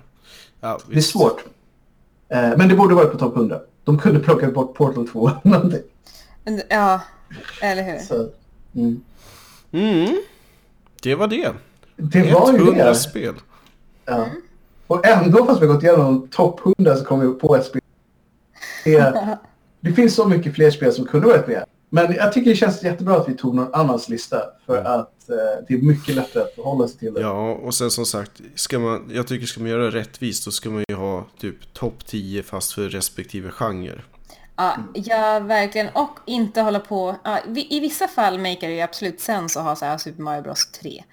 [SPEAKER 3] Det är
[SPEAKER 1] visst.
[SPEAKER 3] svårt. Eh, men det borde varit på topp 100. De kunde plocka bort Portal 2 eller någonting.
[SPEAKER 2] Men- Ja, eller hur?
[SPEAKER 3] Så, mm.
[SPEAKER 1] Mm. Det var det.
[SPEAKER 3] Det var ju
[SPEAKER 1] 100
[SPEAKER 3] det.
[SPEAKER 1] spel.
[SPEAKER 3] Ja. Och ändå, fast vi har gått igenom topp 100, så kommer vi på ett spel. Det, det finns så mycket fler spel som kunde varit med. Men jag tycker det känns jättebra att vi tog någon annans lista. För att eh, det är mycket lättare att förhålla sig till det.
[SPEAKER 1] Ja, och sen som sagt, ska man, jag tycker ska man göra det rättvist då ska man ju ha typ topp 10 fast för respektive genre.
[SPEAKER 2] Ja,
[SPEAKER 3] Mm.
[SPEAKER 2] ja, verkligen. Och inte hålla på... Ja, vi, I vissa fall maker det ju absolut sens att ha så här Super Mario Bros 3.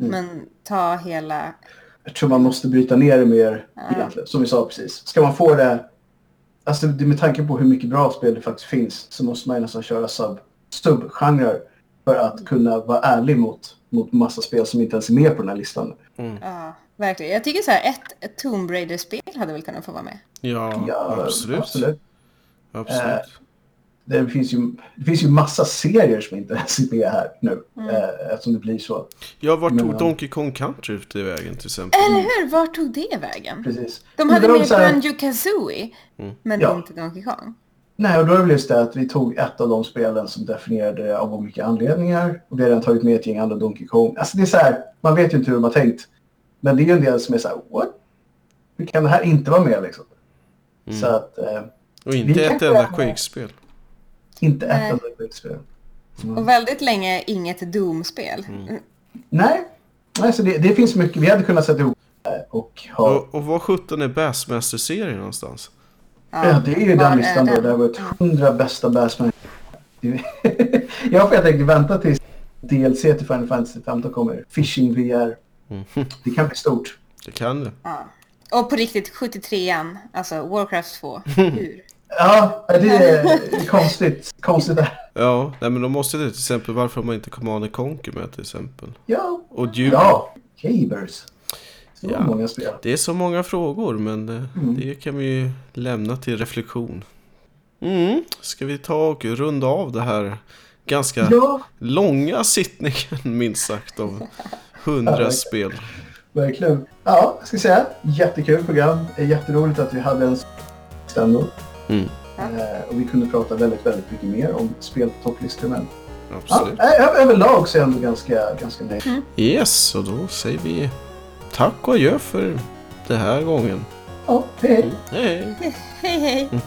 [SPEAKER 3] Mm.
[SPEAKER 2] Men ta hela...
[SPEAKER 3] Jag tror man måste bryta ner det mer egentligen, som vi sa precis. Ska man få det... Alltså det, med tanke på hur mycket bra spel det faktiskt finns så måste man ju nästan köra sub, subgenrer för att kunna vara ärlig mot, mot massa spel som inte ens är med på den här listan.
[SPEAKER 2] Ja, verkligen. Jag tycker så här, ett, ett Tomb Raider-spel hade väl kunnat få vara med.
[SPEAKER 1] Ja, absolut. absolut.
[SPEAKER 3] absolut. Eh, Det finns, ju, det finns ju massa serier som inte ens är med här nu.
[SPEAKER 2] Mm.
[SPEAKER 3] Eh, eftersom det blir så.
[SPEAKER 1] Ja, vart tog
[SPEAKER 3] Men- eh,
[SPEAKER 1] Donkey Kong Country ut i vägen till exempel?
[SPEAKER 2] Eller hur? Var tog det vägen?
[SPEAKER 3] Mm. Precis.
[SPEAKER 2] De hade
[SPEAKER 3] Undrar om
[SPEAKER 2] med
[SPEAKER 3] så här-
[SPEAKER 2] Banjo Kazooie, men
[SPEAKER 3] Ja.
[SPEAKER 2] inte Donkey Kong.
[SPEAKER 3] Nej, och då är det väl just det att vi tog ett av de spelen som definierade det av olika anledningar. Och vi har redan tagit med ett gäng andra Donkey Kong. Alltså det är så här, man vet ju inte hur de har tänkt. Men det är ju en del som är så här, what? Hur kan det här inte vara med liksom? Så att, eh,
[SPEAKER 1] Och inte
[SPEAKER 3] Vi
[SPEAKER 1] ett
[SPEAKER 3] kanske
[SPEAKER 1] enda
[SPEAKER 3] har-
[SPEAKER 1] Quake-spel.
[SPEAKER 3] inte
[SPEAKER 2] Nej.
[SPEAKER 3] ett enda spel. Mm.
[SPEAKER 2] Och väldigt länge inget Doom-spel.
[SPEAKER 3] Nej, Nej så det, det finns mycket. Vi hade kunnat sätta ihop eh, och ha...
[SPEAKER 1] Och, och var sjutton är Bassmaster-serien någonstans?
[SPEAKER 3] Ja, det är ju
[SPEAKER 2] var
[SPEAKER 3] den listan
[SPEAKER 2] är
[SPEAKER 3] då.
[SPEAKER 2] den?
[SPEAKER 3] Det har varit 100 bästa <laughs> Bassman. jag får helt enkelt vänta tills DLC till Final Fantasy 15 kommer. Fishing VR.
[SPEAKER 1] Mm.
[SPEAKER 3] Det kan bli stort.
[SPEAKER 1] Det kan det.
[SPEAKER 2] Ja. Och på riktigt, 73an, alltså Warcraft 2. Hur?
[SPEAKER 3] Ja, det är konstigt. Konstigt. där.
[SPEAKER 1] Ja, nej men då måste det till exempel varför har man inte Command Conquer med till exempel?
[SPEAKER 3] Ja.
[SPEAKER 1] Och Dune.
[SPEAKER 3] Ja. Cabers. Så
[SPEAKER 1] Ja.
[SPEAKER 3] många spel.
[SPEAKER 1] Det är så många frågor men eh, det kan vi ju lämna till reflektion. Mm. Ska vi ta och runda av det här ganska
[SPEAKER 3] Ja,
[SPEAKER 1] långa sittningen <laughs> minst sagt av hundra spel.
[SPEAKER 3] verkligen. Ja, jag ska säga. Jättekul program. Det är jätteroligt att vi hade en stand
[SPEAKER 1] Mm.
[SPEAKER 3] eh, Och vi kunde prata väldigt, väläldigt mycket mer om spel på topplistor. Men ja,
[SPEAKER 1] Absolut.
[SPEAKER 3] ö- överlag så är jag ändå ganska, ganska nöjd.
[SPEAKER 1] Mm. Yes, och då säger vi tack och adjö för den här gången.
[SPEAKER 3] Ja, hej, hej.
[SPEAKER 1] Hej!
[SPEAKER 2] Hej, hej!